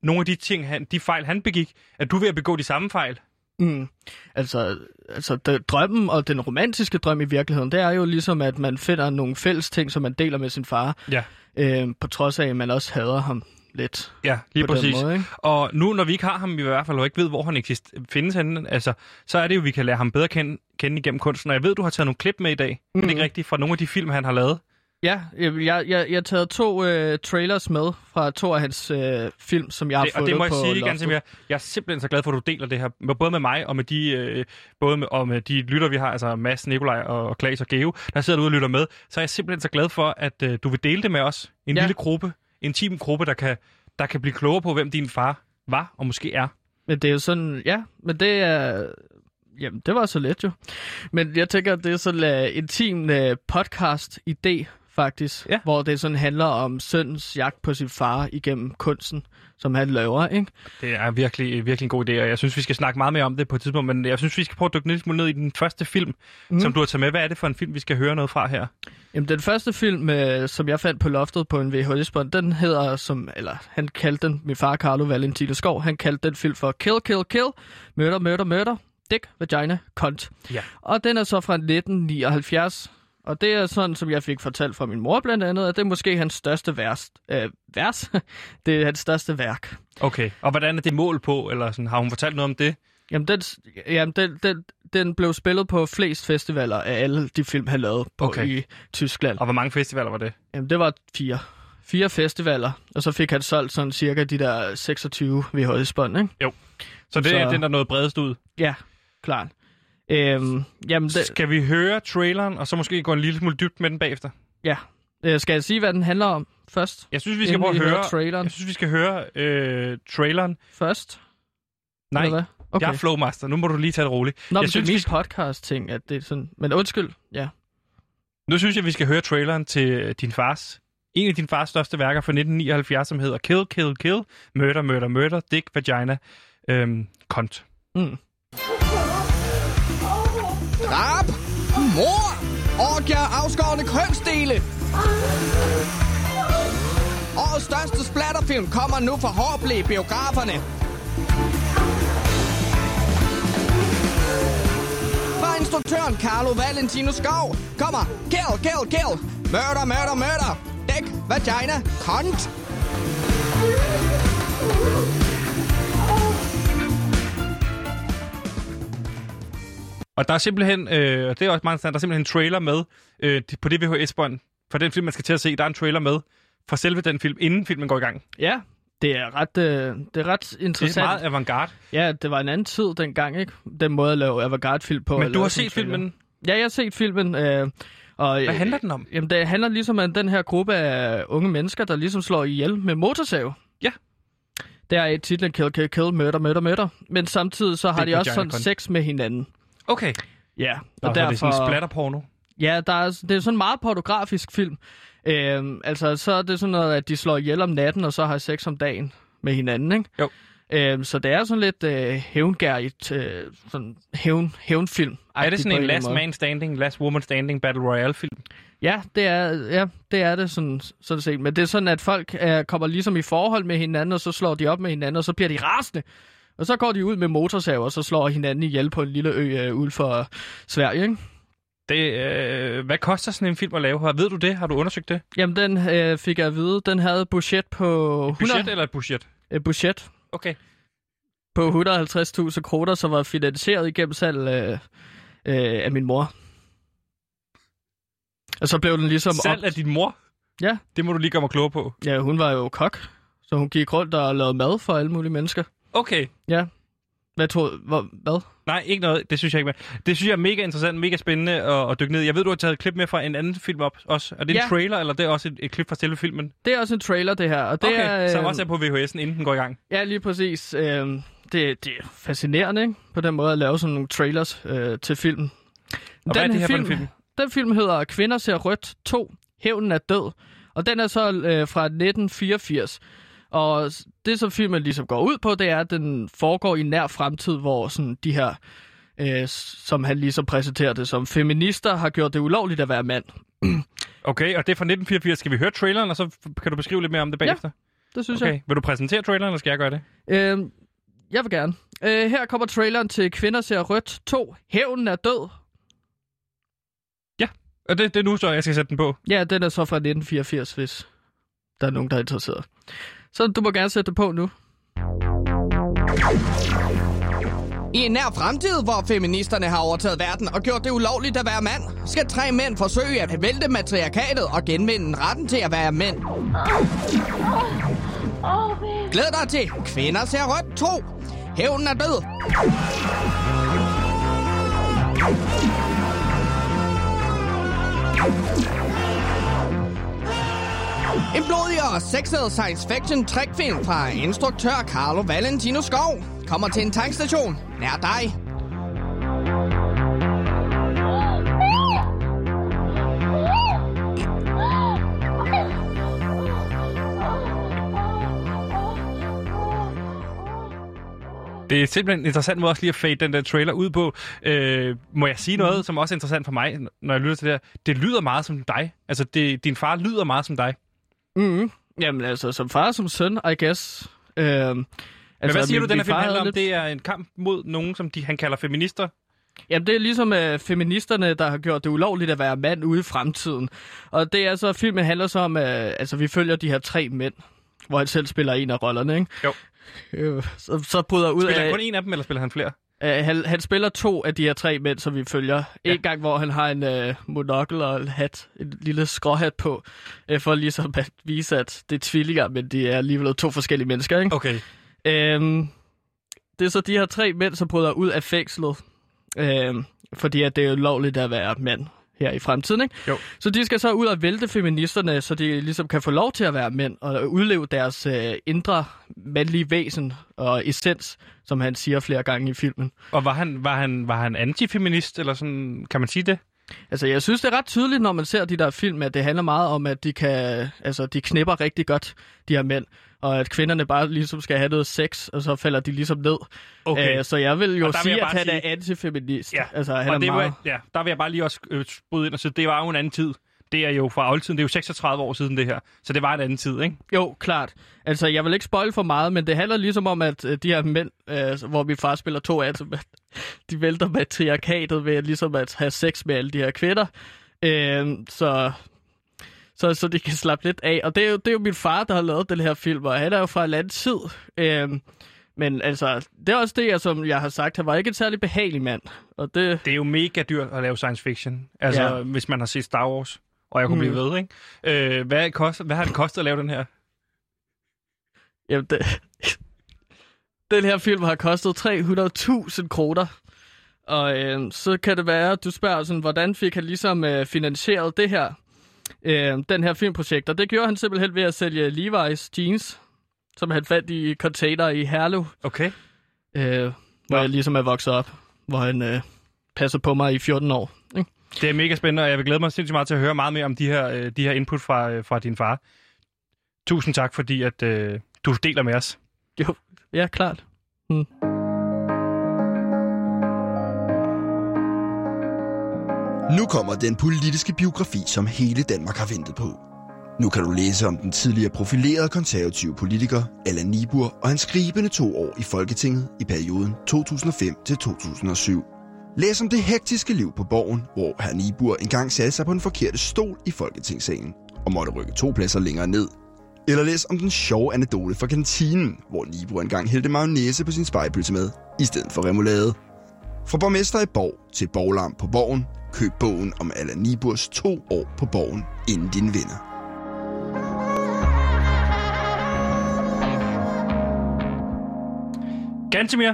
Speaker 1: Nogle af de ting, han, de fejl, han begik, at du ved at begå de samme fejl?
Speaker 2: mm, altså, altså det, drømmen og den romantiske drøm i virkeligheden, det er jo ligesom, at man finder nogle fælles ting, som man deler med sin far,
Speaker 1: Ja.
Speaker 2: øh, på trods af, at man også hader ham lidt.
Speaker 1: Ja, lige
Speaker 2: På den
Speaker 1: præcis.
Speaker 2: måde, ikke?
Speaker 1: og nu, når vi ikke har ham i hvert fald, og ikke ved, hvor han eksist- findes henne, altså, så er det jo, vi kan lære ham bedre kende, kende igennem kunsten. Og jeg ved, du har taget nogle klip med i dag, mm. men det er ikke rigtigt, fra nogle af de film, han har lavet.
Speaker 2: Ja, jeg, jeg, jeg, jeg har taget to øh, trailers med fra to af hans øh, film, som jeg har
Speaker 1: Det,
Speaker 2: fået
Speaker 1: og det må jeg
Speaker 2: på
Speaker 1: sige,
Speaker 2: loftet.
Speaker 1: ganske mere. Jeg er simpelthen så glad for, at du deler det her, med, både med mig og med de, øh, både med, og med de lytter, vi har, altså Mads, Nikolaj og, og Klaas og Geo, der sidder derude og lytter med. Så er jeg simpelthen så glad for, at øh, du vil dele det med os. En ja.
Speaker 2: Ja.
Speaker 1: lille gruppe, en intim gruppe, der kan, der kan blive klogere på, hvem din far var og måske er.
Speaker 2: Men det er jo sådan, ja, men det er... Jamen, det var så let jo. Men jeg tænker, at det er sådan en uh, intim uh, podcast-idé, faktisk.
Speaker 1: Ja.
Speaker 2: Hvor det sådan handler om søndens jagt på sin far igennem kunsten, som han laver, ikke?
Speaker 1: Det er virkelig, øh, virkelig en god idé, og jeg synes, vi skal snakke meget mere om det på et tidspunkt, men jeg synes, vi skal prøve at dykke lidt ned i den første film,
Speaker 2: Mhm.
Speaker 1: mm. som du har taget med. Hvad er det for en film, vi skal høre noget fra her?
Speaker 2: Jamen, den første film, øh, som jeg fandt på loftet på en VHS-bånd, den hedder, som, eller han kaldte den, min far Carlo Valentino Skov, han kaldte den film for Kill, Kill, Kill, Murder, Murder, Murder, Dick, Vagina, Cunt.
Speaker 1: Ja.
Speaker 2: Og den er så fra 1979, og det er sådan, som jeg fik fortalt fra min mor blandt andet, at det er måske hans største vers. Øh, vers? *laughs* det er hans største værk.
Speaker 1: Okay, og hvordan er det mål på, eller sådan, har hun fortalt noget om det?
Speaker 2: Jamen, den, jamen den, den, den blev spillet på flest festivaler af alle de film, han lavede på
Speaker 1: Okay.
Speaker 2: okay. i Tyskland.
Speaker 1: Og hvor mange festivaler var det?
Speaker 2: Jamen, det var fire. Fire festivaler, og så fik han solgt sådan cirka de der 26 VHS-bånd, ikke?
Speaker 1: Så det
Speaker 2: Så-
Speaker 1: er den, der nåede bredest ud.
Speaker 2: Ja, klart. Øhm, jamen, det,
Speaker 1: Skal vi høre traileren, og så måske gå en lille smule dybt med den bagefter?
Speaker 2: ja. Øh, skal jeg sige, hvad den handler om først?
Speaker 1: Jeg synes, vi skal
Speaker 2: Inden
Speaker 1: prøve at
Speaker 2: vi hører
Speaker 1: høre...
Speaker 2: traileren.
Speaker 1: Jeg synes, vi skal høre øh, traileren.
Speaker 2: Først?
Speaker 1: Nej,
Speaker 2: Eller hvad? Okay.
Speaker 1: jeg er flowmaster. Nu må du lige tage det roligt.
Speaker 2: Nå,
Speaker 1: jeg
Speaker 2: men
Speaker 1: synes,
Speaker 2: det er
Speaker 1: vi
Speaker 2: min podcast-ting, at det er sådan... Men undskyld, ja.
Speaker 1: Nu synes jeg, vi skal høre traileren til øh, din fars. En af din fars største værker fra 1979, som hedder Kill, Kill, Kill, Murder, Murder, Murder, Dick, Vagina, øhm, Kont.
Speaker 2: Mm.
Speaker 6: Drab! Mor! Orgier afskårende kønsdele! Årets største splatterfilm kommer nu fra Hårble i biograferne. Fra instruktøren Carlo Valentino Skov kommer Kill, Kill, Kill! Murder, murder, murder! Dæk, vagina, kont!
Speaker 1: Og der er simpelthen, øh, og det er også meget interessant, der er simpelthen en trailer med øh, på det VHS-bånd. For den film, man skal til at se, der er en trailer med fra selve den film, inden filmen går i gang.
Speaker 2: Ja, Det er ret, øh, det er ret
Speaker 1: Det er
Speaker 2: interessant.
Speaker 1: meget avantgarde.
Speaker 2: Ja, det var en anden tid dengang, ikke? Den måde at lave avantgarde-film på.
Speaker 1: Men
Speaker 2: at
Speaker 1: du
Speaker 2: lave
Speaker 1: har
Speaker 2: sådan en
Speaker 1: set
Speaker 2: trailer.
Speaker 1: filmen.
Speaker 2: Ja, jeg har set filmen. Øh, og, øh,
Speaker 1: Hvad handler den om?
Speaker 2: Jamen, det handler ligesom om den her gruppe af unge mennesker, der ligesom slår ihjel med motorsav.
Speaker 1: Ja.
Speaker 2: Der er titlen Kill, Kill, Kill, Murder, Murder, Murder. Men samtidig så har
Speaker 1: Det er
Speaker 2: de også
Speaker 1: vagina
Speaker 2: sådan
Speaker 1: kun.
Speaker 2: sex med hinanden.
Speaker 1: Okay.
Speaker 2: Ja, og
Speaker 1: Nå, derfor... så er det sådan en splatterporno.
Speaker 2: Ja, der er, det er sådan en meget pornografisk film. Øhm, altså, så er det sådan noget, at de slår ihjel om natten, og så har sex om dagen med hinanden, ikke?
Speaker 1: Jo.
Speaker 2: Øhm, så det er sådan lidt øh, hævngærigt, øh, sådan hævn, hævnfilm.
Speaker 1: Er det sådan en last man standing, last woman standing battle royale film?
Speaker 2: Ja, det er, ja, det er det sådan, sådan set. Men det er sådan, at folk øh, kommer ligesom i forhold med hinanden, og så slår de op med hinanden, og så bliver de rasende. Og så går de ud med motorsaver, og så slår hinanden ihjel på en lille ø øh, ude for Sverige, ikke?
Speaker 1: Det, øh, hvad koster sådan en film at lave? Har- Ved du det? Har du undersøgt det?
Speaker 2: Jamen, den øh, fik jeg at vide, den havde budget på... 100
Speaker 1: Budget eller et budget?
Speaker 2: øh, budget
Speaker 1: Okay.
Speaker 2: på 150.000 kroner, som var finansieret igennem salg øh, øh, af min mor. Og så blev den ligesom...
Speaker 1: Salg
Speaker 2: Op...
Speaker 1: af din mor?
Speaker 2: Ja.
Speaker 1: Det må du lige gøre mig klogere på.
Speaker 2: Ja, hun var jo kok, så hun gik rundt og lavede mad for alle mulige mennesker.
Speaker 1: Okay.
Speaker 2: Hvad tror hvor, Hvad?
Speaker 1: Nej, ikke noget. Det synes jeg ikke. men Det synes jeg er mega interessant, mega spændende at, at dykke ned. i. Jeg ved, du har taget et klip med fra en anden film op også. Er det
Speaker 2: Ja.
Speaker 1: en trailer, eller det er også et, et klip fra selve filmen?
Speaker 2: Det er også en trailer, det her. Og det
Speaker 1: okay,
Speaker 2: er,
Speaker 1: som også er øh, på VHS'en, inden den går i gang.
Speaker 2: Ja, lige præcis. Øh, det, det er fascinerende, ikke? På den måde at lave sådan nogle trailers øh, til filmen.
Speaker 1: Og hvad er det her for en film?
Speaker 2: Den film hedder Kvinder ser rødt 2. Hævnen er død. Og den er så øh, fra 1984. Og s- det, som filmen ligesom går ud på, det er, at den foregår i en nær fremtid, hvor sådan de her, øh, s- som han ligesom præsenterer det som, feminister har gjort det ulovligt at være mand.
Speaker 1: Okay, og det er fra 1984. Skal vi høre traileren, og så f- kan du beskrive lidt mere om det
Speaker 2: Ja,
Speaker 1: bagefter?
Speaker 2: Det synes jeg.
Speaker 1: okay. Vil du præsentere traileren, eller skal jeg gøre det?
Speaker 2: Øh, jeg vil gerne. Øh, her kommer traileren til Kvinder ser rødt 2. Hævnen er død.
Speaker 1: Og det, det er nu, så jeg skal sætte den på.
Speaker 2: Ja, den er så fra 1984, hvis der er nogen, der er interesseret. Så du må gerne sætte det på nu.
Speaker 6: I en nær fremtid, hvor feministerne har overtaget verden og gjort det ulovligt at være mand, skal tre mænd forsøge at vælte matriarkatet og genvinde retten til at være mænd. Glæd dig til Kvinder ser rødt 2. Hævnen er død. En blodig og sexet science fiction trickfilm fra instruktør Carlo Valentino Skov kommer til en tankstation nær dig.
Speaker 1: Det er simpelthen en interessant måde også lige at fade den der trailer ud på. Øh, må jeg sige noget, som også er interessant for mig, n- når jeg lytter til det her? Det lyder meget som dig. Altså, det, din far lyder meget som dig.
Speaker 2: Mm. Jamen altså, som far og som søn, I guess. Øhm, altså,
Speaker 1: Men hvad siger
Speaker 2: min-
Speaker 1: du, den
Speaker 2: min
Speaker 1: her film
Speaker 2: far
Speaker 1: handler
Speaker 2: havde
Speaker 1: om?
Speaker 2: lidt-
Speaker 1: Det er en kamp mod nogen, som de, han kalder feminister.
Speaker 2: Jamen, det er ligesom øh, feministerne, der har gjort det ulovligt at være mand ude i fremtiden. Og det er så, filmen handler så om, øh, altså vi følger de her tre mænd, hvor han selv spiller en af rollerne, ikke?
Speaker 1: Jo.
Speaker 2: Øh, så, så bryder ud
Speaker 1: Spiller
Speaker 2: af...
Speaker 1: han kun en af dem, eller spiller han flere?
Speaker 2: Øh, han, han spiller to af de her tre mænd, som vi følger. Ja. En gang, hvor han har en øh, monokkel og en hat, en lille skråhat på, øh, for ligesom at vise, at det er tvillinger, men de er alligevel to forskellige mennesker. Ikke?
Speaker 1: Okay.
Speaker 2: Okay. Øhm, det er så de her tre mænd, som bryder ud af fængslet, øhm, fordi at det er ulovligt at være mand her i fremtiden. Ikke?
Speaker 1: Jo.
Speaker 2: Så de skal så ud og vælte feministerne, så de ligesom kan få lov til at være mænd og udleve deres øh, indre mandlige væsen og essens, som han siger flere gange i filmen.
Speaker 1: Og var han, var han, var han antifeminist, eller sådan, kan man sige det?
Speaker 2: Altså, jeg synes, det er ret tydeligt, når man ser de der film, at det handler meget om, at de kan, altså, de knipper rigtig godt, de her mænd, og at kvinderne bare ligesom skal have noget sex, og så falder de ligesom ned.
Speaker 1: Okay.
Speaker 2: Øh, så jeg vil jo
Speaker 1: Og der vil
Speaker 2: sige,
Speaker 1: jeg
Speaker 2: at
Speaker 1: bare
Speaker 2: han
Speaker 1: sige-
Speaker 2: er antifeminist.
Speaker 1: Ja,
Speaker 2: Altså, han
Speaker 1: og
Speaker 2: er
Speaker 1: det
Speaker 2: meget...
Speaker 1: var, ja, der vil jeg bare lige også øh, bryde ind og sige, det var jo en anden tid. Det er jo fra oldtiden, det er jo 36 år siden det her. Så det var en anden tid, ikke?
Speaker 2: Jo, klart. Altså, jeg vil ikke spoil for meget, men det handler ligesom om, at øh, de her mænd, øh, hvor min far spiller to af dem, at *laughs* de vælter matriarkatet ved ligesom at have sex med alle de her kvinder. Øh, så, så, så de kan slappe lidt af. Og det er, jo, det er jo min far, der har lavet den her film, og han er jo fra en anden tid. Øh, men altså, det er også det, jeg, som jeg har sagt, han var ikke en særlig behagelig mand. Og det,
Speaker 1: Det er jo mega dyrt at lave science fiction. Altså,
Speaker 2: Ja.
Speaker 1: ja. hvis man har set Star Wars, og jeg kunne mm. blive ved, ikke? Øh, hvad, kost, hvad har det kostet at lave den her?
Speaker 2: Jamen, det... den her film har kostet 300.000 kroner. Og øh, så kan det være, at du spørger, sådan, hvordan fik han ligesom øh, finansieret det her, øh, den her filmprojekt. Og det gjorde han simpelthen ved at sælge Levi's jeans, som han fandt i container i Herlev,
Speaker 1: Okay.
Speaker 2: øh, hvor
Speaker 1: Nå.
Speaker 2: jeg ligesom er vokset op, hvor han øh, passer på mig i 14 år. Ikke?
Speaker 1: Det er mega spændende, og jeg vil glæde mig sindssygt meget til at høre meget mere om de her, øh, de her input fra, øh, fra din far. Tusind tak, fordi at, øh, du deler med os.
Speaker 2: Jo, ja, klart. Mm.
Speaker 3: Nu kommer den politiske biografi, som hele Danmark har ventet på. Nu kan du læse om den tidligere profilerede konservative politiker Allan Nibur og hans gribende to år i Folketinget i perioden 2005-2007. Læs om det hektiske liv på borgen, hvor herr Nibur engang satte sig på den forkerte stol i Folketingssalen og måtte rykke to pladser længere ned. Eller læs om den sjove anekdote fra kantinen, hvor Nibur engang hældte mayonnaise på sin spejpølse med, i stedet for remoulade. Fra borgmester i Borg til borglarm på Borgen, køb bogen om Allan Niburs to år på Borgen, inden din vinder.
Speaker 1: Gantemir,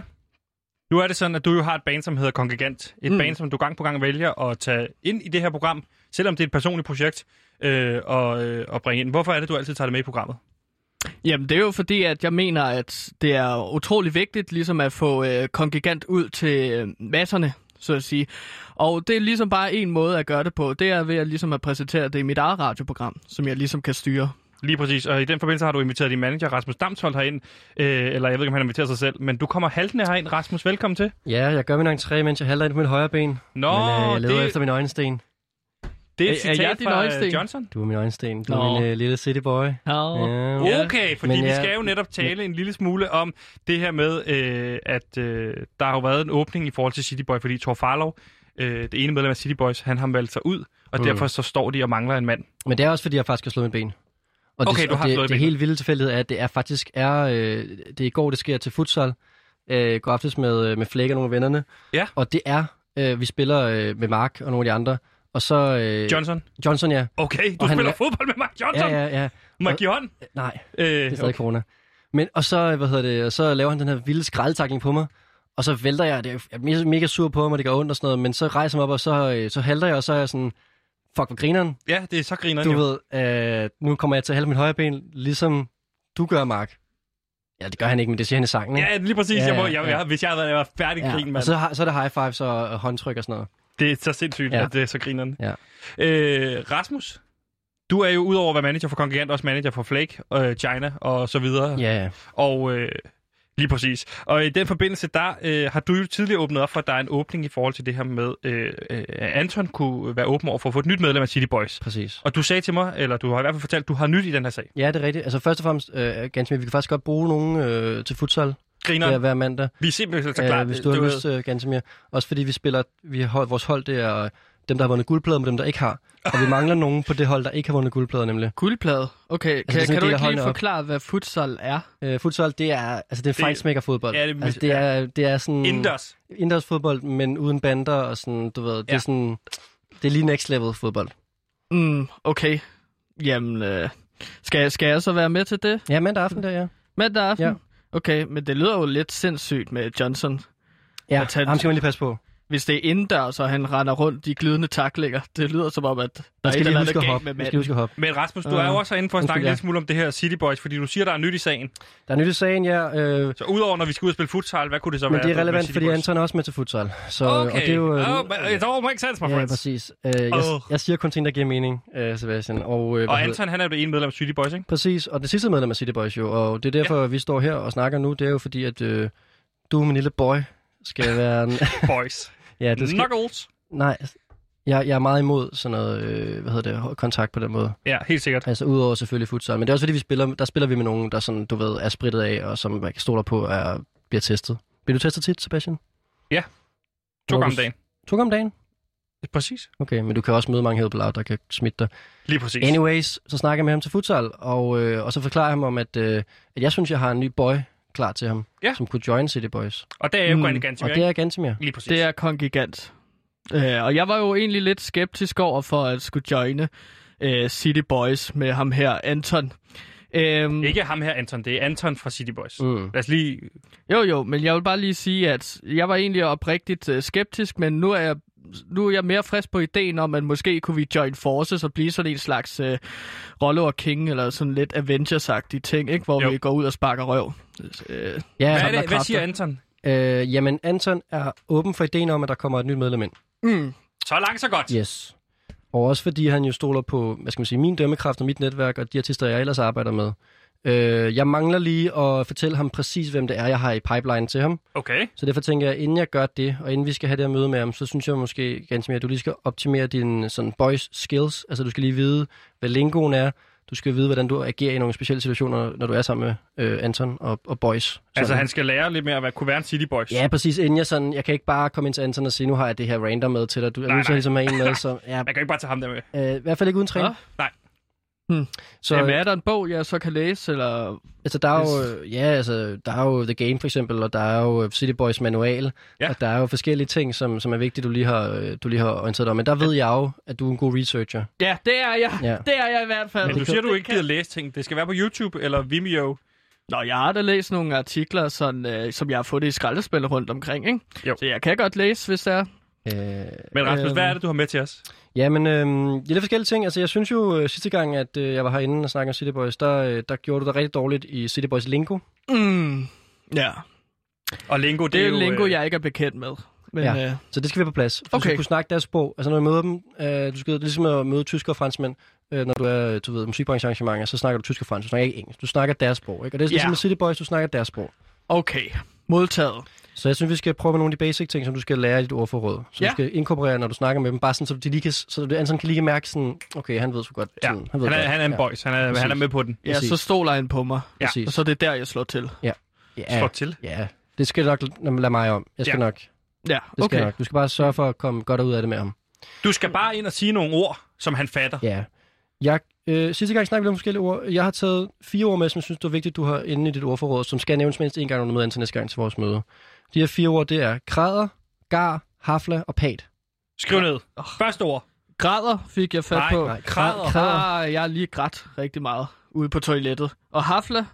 Speaker 1: nu er det sådan, at du jo har et band, som hedder Kongigant. Et
Speaker 2: Mm.
Speaker 1: mm. band, som du gang på gang vælger at tage ind i det her program, selvom det er et personligt projekt, øh, og, øh, og bringe ind. Hvorfor er det, du altid tager det med i programmet?
Speaker 2: Jamen, det er jo fordi, at jeg mener, at det er utrolig vigtigt ligesom at få øh, kongigant ud til øh, masserne, så at sige. Og det er ligesom bare en måde at gøre det på. Det er ved at, ligesom at præsentere det i mit eget radioprogram, som jeg ligesom kan styre.
Speaker 1: Lige præcis, og i den forbindelse har du inviteret din manager Rasmus Damsholdt herind, øh, eller jeg ved ikke, om han inviterer sig selv, men du kommer haltende herind, Rasmus, velkommen til.
Speaker 7: Ja, jeg gør min entré, mens jeg halter ind på mit højre ben.
Speaker 1: Nå,
Speaker 7: men, øh, jeg leder
Speaker 1: det-
Speaker 7: efter min øjensten.
Speaker 1: Det er
Speaker 2: Er-
Speaker 1: et
Speaker 2: er
Speaker 1: citat
Speaker 2: jeg din
Speaker 1: fra
Speaker 2: øjensten?
Speaker 1: øh, Johnson.
Speaker 7: Du er min øjensten. Du
Speaker 2: Nå.
Speaker 7: er min øh, lille cityboy.
Speaker 2: Ja.
Speaker 7: Ja.
Speaker 2: Ja.
Speaker 1: Okay, fordi
Speaker 7: Men
Speaker 1: vi
Speaker 7: ja,
Speaker 1: skal jo netop tale en lille smule om det her med, øh, at øh, der har jo været en åbning i forhold til City Boy, fordi Thor Farlow, øh, det ene medlem af City Boys, han har meldt sig ud, og
Speaker 7: Mm.
Speaker 1: derfor så står de og mangler en mand.
Speaker 7: Men det er også, fordi jeg faktisk har slået mit ben. Og
Speaker 1: Okay,
Speaker 7: det,
Speaker 1: du har
Speaker 7: og det,
Speaker 1: slået
Speaker 7: det
Speaker 1: benet.
Speaker 7: helt vilde tilfældighed er, at det er faktisk er, øh, det er i går, det sker til futsal. Øh, går aftes med, øh, med Flæk og nogle af vennerne.
Speaker 1: Ja.
Speaker 7: Og det er, øh, vi spiller øh, med Mark og nogle af de andre. Og så... Øh,
Speaker 1: Johnson.
Speaker 7: Johnson, ja.
Speaker 1: Okay, du
Speaker 7: og han
Speaker 1: spiller
Speaker 7: er-
Speaker 1: fodbold med Mark
Speaker 7: Ja,
Speaker 1: Johnson. Ja, ja.
Speaker 7: ja, ja.
Speaker 1: Må jeg give hånd?
Speaker 7: Nej,
Speaker 1: Øh,
Speaker 7: Det er stadig corona. Men, og så, hvad hedder det, og så laver han den her vilde skraldtakling på mig, og så vælter jeg, det er, jeg er mega- mega sur på mig, det gør ondt og sådan noget, men så rejser jeg mig op, og så, øh, så halter jeg, og så er jeg sådan, fuck, hvor grineren.
Speaker 1: ja, det er så griner
Speaker 7: Du ved, øh, nu kommer jeg til at halve min højre ben, ligesom du gør, Mark. Ja, det gør han ikke, men det siger han i sangen. ikke?
Speaker 1: Ja, lige præcis.
Speaker 7: Ja,
Speaker 1: jeg må,
Speaker 7: ja,
Speaker 1: jeg,
Speaker 7: ja.
Speaker 1: jeg, hvis jeg havde været jeg var færdig ja. krigen,
Speaker 7: og
Speaker 1: mand.
Speaker 7: så, har- så er der high fives og, og håndtryk og sådan noget.
Speaker 1: Det er så sindssygt, ja.
Speaker 7: Ja.
Speaker 1: at det er så grinerne.
Speaker 7: Ja.
Speaker 1: Øh, Rasmus, du er jo udover at være manager for Kongigant, også manager for Flake, øh, China og så videre.
Speaker 7: Ja, ja.
Speaker 1: Og øh, lige præcis. Og i den forbindelse, der øh, har du jo tidligere åbnet op for, at der er en åbning i forhold til det her med, øh, øh, at Anton kunne være åben over for at få et nyt medlem af City Boys.
Speaker 7: præcis.
Speaker 1: Og du sagde til mig, eller du har i hvert fald fortalt, at du har nyt i den her sag.
Speaker 7: Ja, det er rigtigt. Altså først og fremmest, øh, Gansmir, vi kan faktisk godt bruge nogen øh, til futsal
Speaker 1: Griner,
Speaker 7: hver,
Speaker 1: ja.
Speaker 7: hver mandag.
Speaker 1: vi er simpelthen så
Speaker 7: Ja,
Speaker 1: Altså, klar.
Speaker 7: hvis du har lyst, øh, Gantemir. Også fordi vi spiller, vi har, vores hold, det er øh, dem, der har vundet guldplader, med dem, der ikke har. Og vi mangler nogen på det hold, der ikke har vundet guldplader, nemlig.
Speaker 2: Guldplade. Okay, kan,
Speaker 7: Altså, sådan
Speaker 2: kan
Speaker 7: en
Speaker 2: du
Speaker 7: del af
Speaker 2: ikke lige
Speaker 7: hånden op.
Speaker 2: forklare, hvad futsal er?
Speaker 7: Øh, futsal, det er, altså, det er fightsmaker-fodbold.
Speaker 1: Ja, det er-
Speaker 7: altså, det, er, det er sådan...
Speaker 1: Inders.
Speaker 7: Indendørs fodbold, men uden bander og sådan, du ved, det
Speaker 1: Ja.
Speaker 7: er sådan... Det er lige next level fodbold.
Speaker 2: Mm, okay. Jamen, øh, skal, jeg- skal jeg så være med til det
Speaker 7: Ja, mandag aften der, ja.
Speaker 2: mandag aften?
Speaker 7: Ja.
Speaker 2: Okay, men det lyder jo lidt sindssygt med Johnson.
Speaker 7: Ja,
Speaker 2: Og tage den-
Speaker 7: ham skal man lige passe på.
Speaker 2: hvis det er indendørs, og han render rundt i glidende taklinger. Det lyder som om, at der
Speaker 7: Man
Speaker 2: er et
Speaker 7: skal lige
Speaker 2: eller andet
Speaker 7: huske at
Speaker 2: galt
Speaker 7: hoppe.
Speaker 2: med
Speaker 7: Man skal
Speaker 2: manden.
Speaker 7: huske at hoppe.
Speaker 1: Men Rasmus, du er jo
Speaker 7: Øh,
Speaker 1: også herinde for at
Speaker 7: undskyld,
Speaker 1: snakke
Speaker 7: ja.
Speaker 1: lidt smule om det her City Boys, fordi du siger, der er nyt i sagen.
Speaker 7: Der er nyt i sagen, ja. Øh,
Speaker 1: Så udover, når vi skal ud og spille futsal, hvad kunne det så
Speaker 7: men
Speaker 1: være?
Speaker 7: det
Speaker 1: med
Speaker 7: er relevant,
Speaker 1: City
Speaker 7: fordi
Speaker 1: Boys?
Speaker 7: Anton er også med til futsal. Så,
Speaker 1: Okay,
Speaker 7: og det er jo, øh,
Speaker 1: oh, but it all makes sense, my
Speaker 7: Ja,
Speaker 1: friends.
Speaker 7: præcis. Øh, jeg,
Speaker 1: Åh.
Speaker 7: jeg siger kun ting, der giver mening, øh, Sebastian. Og, øh, hvad
Speaker 1: og
Speaker 7: hedder-
Speaker 1: Anton, han er jo det ene medlem af City Boys, ikke?
Speaker 7: Præcis, og det sidste medlem af City Boys jo, og det er derfor, ja. vi står her og snakker nu, det er jo fordi, at øh, du, min lille boy, skal være en... *laughs*
Speaker 1: Boys.
Speaker 7: ja, det skal...
Speaker 1: Knuckles.
Speaker 7: Nej, jeg, jeg er meget imod sådan noget, øh, hvad hedder det, kontakt på den måde.
Speaker 1: Ja, helt sikkert.
Speaker 7: Altså udover selvfølgelig futsal, men det er også fordi, vi spiller, der spiller vi med nogen, der sådan, du ved, er spritet af, og som man stoler på, er, bliver testet. Bliver du testet tit, Sebastian?
Speaker 1: To
Speaker 7: Nå,
Speaker 1: gange om
Speaker 7: du-
Speaker 1: dagen.
Speaker 7: To gange om dagen?
Speaker 1: Præcis.
Speaker 7: Okay, men du kan også møde mange hedeblader, der kan smitte dig.
Speaker 1: Lige præcis.
Speaker 7: Anyways, så snakker jeg med ham til futsal, og, øh, og så forklarer jeg ham om, at, øh, at jeg synes, jeg har en ny boy klar til ham,
Speaker 1: Ja.
Speaker 7: som kunne join City Boys.
Speaker 1: Og der er jo
Speaker 2: Mm,
Speaker 1: mm, ganske ganske
Speaker 7: Og det er Gantemir.
Speaker 1: Lige præcis.
Speaker 2: Det er kongigant. Øh, og jeg var jo egentlig lidt skeptisk over for at skulle joine øh, City Boys med ham her, Anton. Øhm,
Speaker 1: Ikke ham her, Anton. Det er Anton fra City Boys.
Speaker 7: Mm.
Speaker 1: Lad os lige...
Speaker 2: Jo, jo, men jeg vil bare lige sige, at jeg var egentlig oprigtigt øh, skeptisk, men nu er jeg nu er jeg mere frisk på ideen om, at måske kunne vi join forces og blive sådan en slags øh, Rollo og King, eller sådan lidt avengers ting, ikke? hvor
Speaker 1: Jo.
Speaker 2: jo. vi går ud og sparker røv. Øh,
Speaker 7: Ja,
Speaker 1: Hvad, er
Speaker 2: Samler
Speaker 1: det, hvad
Speaker 2: kræfter.
Speaker 1: siger Anton?
Speaker 7: Øh, jamen, Anton er åben for ideen om, at der kommer et nyt medlem ind.
Speaker 2: mm.
Speaker 1: Så langt, så godt.
Speaker 7: Yes. Og også fordi han jo stoler på, hvad skal man sige, min dømmekraft og mit netværk og de artister, jeg ellers arbejder med. Øh, jeg mangler lige at fortælle ham præcis, hvem det er, jeg har i pipeline til ham.
Speaker 1: Okay.
Speaker 7: Så derfor tænker jeg, inden jeg gør det, og inden vi skal have det her møde med ham, så synes jeg måske, ganske mere, at du lige skal optimere dine sådan, boys skills. Altså du skal lige vide, hvad lingoen er. Du skal vide, hvordan du agerer i nogle specielle situationer, når du er sammen med øh, Anton og, og boys. Sådan.
Speaker 1: Altså, han skal lære lidt mere at være, kunne være en City Boys.
Speaker 7: Ja, præcis. Inden jeg sådan, jeg kan ikke bare komme ind til Anton og sige, nu har jeg det her random med til dig. Du er
Speaker 1: Nej,
Speaker 7: nødt til
Speaker 1: nej.
Speaker 7: ligesom at have en med, så
Speaker 1: *laughs*
Speaker 7: ja,
Speaker 1: Jeg kan ikke bare tage ham der med.
Speaker 7: øh, i hvert fald ikke uden træning.
Speaker 2: Nå.
Speaker 1: Nej.
Speaker 2: Hmm.
Speaker 7: Så
Speaker 2: Så, Jamen, er der en bog, jeg så kan læse, eller...
Speaker 7: altså, der er jo, øh, ja, altså, der er jo The Game for eksempel, og der er jo øh, City Boys manual,
Speaker 1: Ja.
Speaker 7: ja. og der er jo forskellige ting, som, som er vigtigt, du lige har, øh, du lige har orienteret dig om. Men der ved jeg jo, at du er en god researcher.
Speaker 2: Ja, det er jeg.
Speaker 7: Ja.
Speaker 2: Det er jeg i hvert fald.
Speaker 1: Men du
Speaker 7: det
Speaker 1: siger,
Speaker 2: kan-
Speaker 1: du ikke gider læse ting. Det skal være på YouTube eller Vimeo.
Speaker 2: Nå, jeg har da læst nogle artikler, sådan, øh, som jeg har fundet i skraldespil rundt omkring, ikke?
Speaker 1: Jo.
Speaker 2: Så jeg kan godt læse, hvis det er.
Speaker 7: Øh,
Speaker 1: Men Rasmus,
Speaker 7: Øhm.
Speaker 1: hvad er det, du har med til os?
Speaker 7: Ja, men øh, ja, det er forskellige ting. Altså, jeg synes jo øh, sidste gang, at øh, jeg var herinde og snakkede om City Boys, der, øh, der gjorde du dig rigtig dårligt i City Boys lingo.
Speaker 2: Mm. Ja.
Speaker 1: Og Lingo, det,
Speaker 2: Det er
Speaker 1: jo...
Speaker 2: jo lingo,
Speaker 1: øh,
Speaker 2: jeg ikke er bekendt med. Men,
Speaker 7: Ja.
Speaker 2: ja. øh,
Speaker 7: Så det skal være på plads. Du
Speaker 2: Okay.
Speaker 7: skal kunne snakke deres sprog. Altså, når du møder dem, øh, du skal ligesom at møde tyskere og franskmænd, øh, når du er, du ved, musikbranchearrangementer, så snakker du tysk og fransk. Du snakker ikke engelsk. Du snakker deres sprog, ikke? Og det er
Speaker 2: Ja.
Speaker 7: ligesom med City Boys, du snakker deres sprog.
Speaker 2: Okay, modtaget.
Speaker 7: Så jeg synes, vi skal prøve med nogle af de basic ting, som du skal lære i dit ordforråd. Så
Speaker 2: Ja.
Speaker 7: du skal inkorporere, når du snakker med dem, bare sådan, så, de lige kan, så du, Anton kan lige mærke sådan, okay, han ved så godt.
Speaker 1: Ja.
Speaker 7: tiden. Han, ved
Speaker 1: Han er,
Speaker 7: godt.
Speaker 1: han er en
Speaker 7: ja.
Speaker 1: boys. Han er, han er
Speaker 7: Præcis.
Speaker 1: med på den.
Speaker 2: Ja,
Speaker 7: Præcis.
Speaker 2: så stoler han på mig.
Speaker 1: Ja.
Speaker 7: Præcis.
Speaker 2: Og så er det der, jeg slår til.
Speaker 1: Slå
Speaker 7: Ja.
Speaker 1: til.
Speaker 7: ja. Det skal du nok lade mig om. Jeg skal
Speaker 1: Ja.
Speaker 7: nok. Det
Speaker 2: Ja,
Speaker 7: skal
Speaker 2: okay.
Speaker 7: jeg nok. Du skal bare sørge for at komme godt ud af det med ham.
Speaker 1: Du skal bare ind og sige nogle ord, som han fatter.
Speaker 7: Ja. Jeg, øh, sidste gang snakkede vi om forskellige ord. Jeg har taget fire ord med, som jeg synes, det er vigtigt, du har inde i dit ordforråd, som skal nævnes mindst en gang, når du møder ind til næste gang til vores møde. De her fire ord, det er kræder, gar, hafla og pat.
Speaker 1: Skriv ned. Første ord.
Speaker 2: Græder fik jeg fat
Speaker 1: Nej,
Speaker 2: på.
Speaker 1: nej, kræder.
Speaker 2: Ah, jeg har lige grædt rigtig meget ude på toilettet. Og hafle?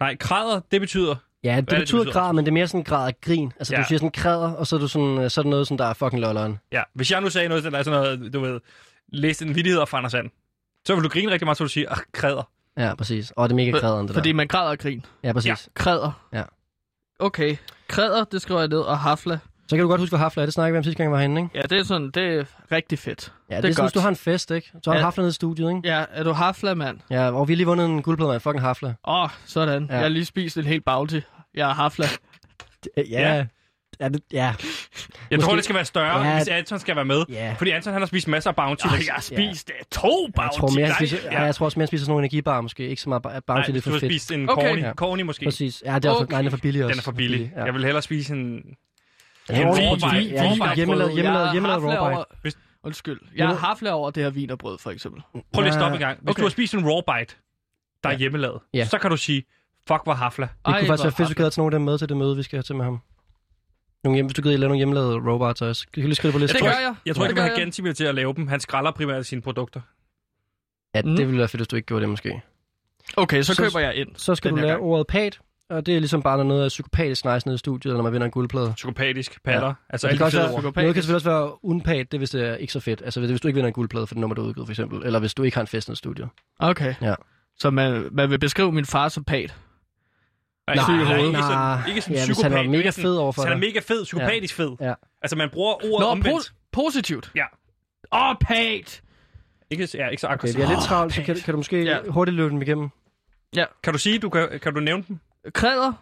Speaker 1: Nej, græder, det betyder...
Speaker 7: Ja, det
Speaker 1: det, det
Speaker 7: betyder
Speaker 1: betyder?
Speaker 7: grad, men det er mere sådan grad af grin. Altså,
Speaker 1: Ja.
Speaker 7: du siger sådan kræder, og så er, du sådan, øh, så er der noget, sådan, der er fucking lolleren.
Speaker 1: Ja, hvis jeg nu sagde noget, der er sådan noget, du ved, læste en vittighed fra Anders Sand, så vil du grine rigtig meget, så vil du sige, ah, kræder.
Speaker 7: Ja, præcis. Og det er mega
Speaker 2: For-
Speaker 7: kræderen, det
Speaker 2: Fordi
Speaker 7: der.
Speaker 2: man græder og grin.
Speaker 7: Ja, præcis.
Speaker 2: Kræder.
Speaker 7: Ja.
Speaker 2: Okay, kræder, det skriver jeg ned. Og hafle?
Speaker 7: Så kan du godt huske, hvad hafla er. Det snakkede vi om sidste gang, vi var herinde, ikke?
Speaker 2: Ja, det er sådan, det er rigtig fedt.
Speaker 7: Ja, det, det er sådan,
Speaker 2: godt.
Speaker 7: hvis du har en fest, ikke? Så har du
Speaker 2: Ja.
Speaker 7: hafla nede i studiet, ikke?
Speaker 2: Ja, er du hafle, mand?
Speaker 7: Ja, og vi har lige vundet en guldplade med fucking hafla.
Speaker 2: Åh, oh, sådan. Ja.
Speaker 7: Ja.
Speaker 2: Jeg har lige spist en helt bounty. Jeg er
Speaker 7: *laughs*
Speaker 2: hafle.
Speaker 1: Ja.
Speaker 7: Ja, det, ja.
Speaker 1: Jeg Måske... tror,
Speaker 7: Måske-
Speaker 1: det skal være større, ja.
Speaker 7: Ja.
Speaker 1: hvis Anton skal være med.
Speaker 7: Ja.
Speaker 1: Fordi Anton, han har spist masser af bounty.
Speaker 2: Og jeg har spist ja. to bounty.
Speaker 7: Jeg tror, mere, han spiser,
Speaker 1: Nej,
Speaker 7: ja.
Speaker 1: ja.
Speaker 7: jeg tror også mere, han spiser sådan nogle energibar, måske. Ikke så meget ba-
Speaker 1: Nej,
Speaker 7: bounty, det er
Speaker 1: hvis
Speaker 7: for
Speaker 1: du har
Speaker 7: fedt.
Speaker 1: spist en
Speaker 2: Okay.
Speaker 1: corny,
Speaker 7: Ja.
Speaker 1: corny måske.
Speaker 7: Præcis. Ja, det er, okay.
Speaker 2: Okay.
Speaker 7: nej, den er for billig også.
Speaker 1: Den er for billig.
Speaker 7: Ja.
Speaker 1: Jeg vil hellere spise en...
Speaker 7: Ja,
Speaker 1: en
Speaker 7: ordentlig
Speaker 1: forvej-
Speaker 7: chili.
Speaker 1: forvej-
Speaker 7: Ja, hjemmelavet, hjemmelavet, hjemmelavet rawbite.
Speaker 1: Hvis-
Speaker 2: Undskyld. Jeg har hafle over det her vinerbrød, for eksempel.
Speaker 1: Prøv lige at
Speaker 7: Ja,
Speaker 1: stoppe en gang. Hvis
Speaker 7: okay.
Speaker 1: du har spist en raw bite, der er
Speaker 7: Ja.
Speaker 1: hjemmelavet,
Speaker 7: Ja.
Speaker 1: så kan du sige, fuck, hvor hafla.
Speaker 7: Det
Speaker 2: Ej,
Speaker 7: kunne faktisk
Speaker 2: hvor
Speaker 7: være fedt, hvis du gad tage nogle af dem med til det møde, vi skal have til med ham. Nogle hjem, hvis du gider lave nogle hjemmelavede robots også. Kan du lige skrive det på listen?
Speaker 2: Det gør jeg.
Speaker 1: Jeg tror ikke, vi
Speaker 2: det
Speaker 1: har Gentimier til at lave dem. Han skralder primært sine produkter.
Speaker 7: Ja,
Speaker 2: Mm.
Speaker 7: det ville være fedt, hvis du ikke gjorde det måske.
Speaker 2: Okay, så
Speaker 7: Så-
Speaker 2: køber jeg ind.
Speaker 7: Så skal
Speaker 2: Den
Speaker 7: du
Speaker 2: her
Speaker 7: lære
Speaker 2: gang.
Speaker 7: ordet pat, og det er ligesom bare noget af psykopatisk nice nede i studiet, når man vinder en guldplade.
Speaker 1: Psykopatisk, patter, ja. altså
Speaker 7: Så det
Speaker 1: alle
Speaker 7: kan
Speaker 1: de
Speaker 7: også
Speaker 1: fede
Speaker 7: være,
Speaker 1: ord.
Speaker 7: noget kan selvfølgelig også være unpat, det er, hvis det er ikke så fedt. Altså hvis du ikke vinder en guldplade for det nummer, du er udgivet, for eksempel. Eller hvis du ikke har en fest nede i studiet.
Speaker 2: Okay.
Speaker 7: Ja.
Speaker 2: Så man, man vil beskrive min far som pat.
Speaker 1: Nej,
Speaker 7: Nej,
Speaker 1: syg i hovedet.
Speaker 7: nej.
Speaker 1: ikke sådan, ikke sådan
Speaker 7: Ja,
Speaker 1: ja,
Speaker 7: hvis
Speaker 1: psykopat.
Speaker 7: han var mega
Speaker 1: ikke sådan-
Speaker 7: fed overfor
Speaker 1: hvis Han er
Speaker 7: dig.
Speaker 1: mega fed, psykopatisk fed.
Speaker 7: Ja.
Speaker 1: Altså, man bruger ordet
Speaker 2: Nå,
Speaker 1: omvendt.
Speaker 2: po- positivt.
Speaker 1: Ja.
Speaker 2: Åh, oh, pat!
Speaker 1: Ikke, ja, ikke så
Speaker 7: Okay,
Speaker 1: aggressivt.
Speaker 7: vi er lidt travlt, så
Speaker 2: pat.
Speaker 7: kan, kan du måske
Speaker 2: Ja.
Speaker 7: hurtigt løbe dem igennem.
Speaker 1: Kan du sige, du kan, kan du nævne dem?
Speaker 2: Kræder.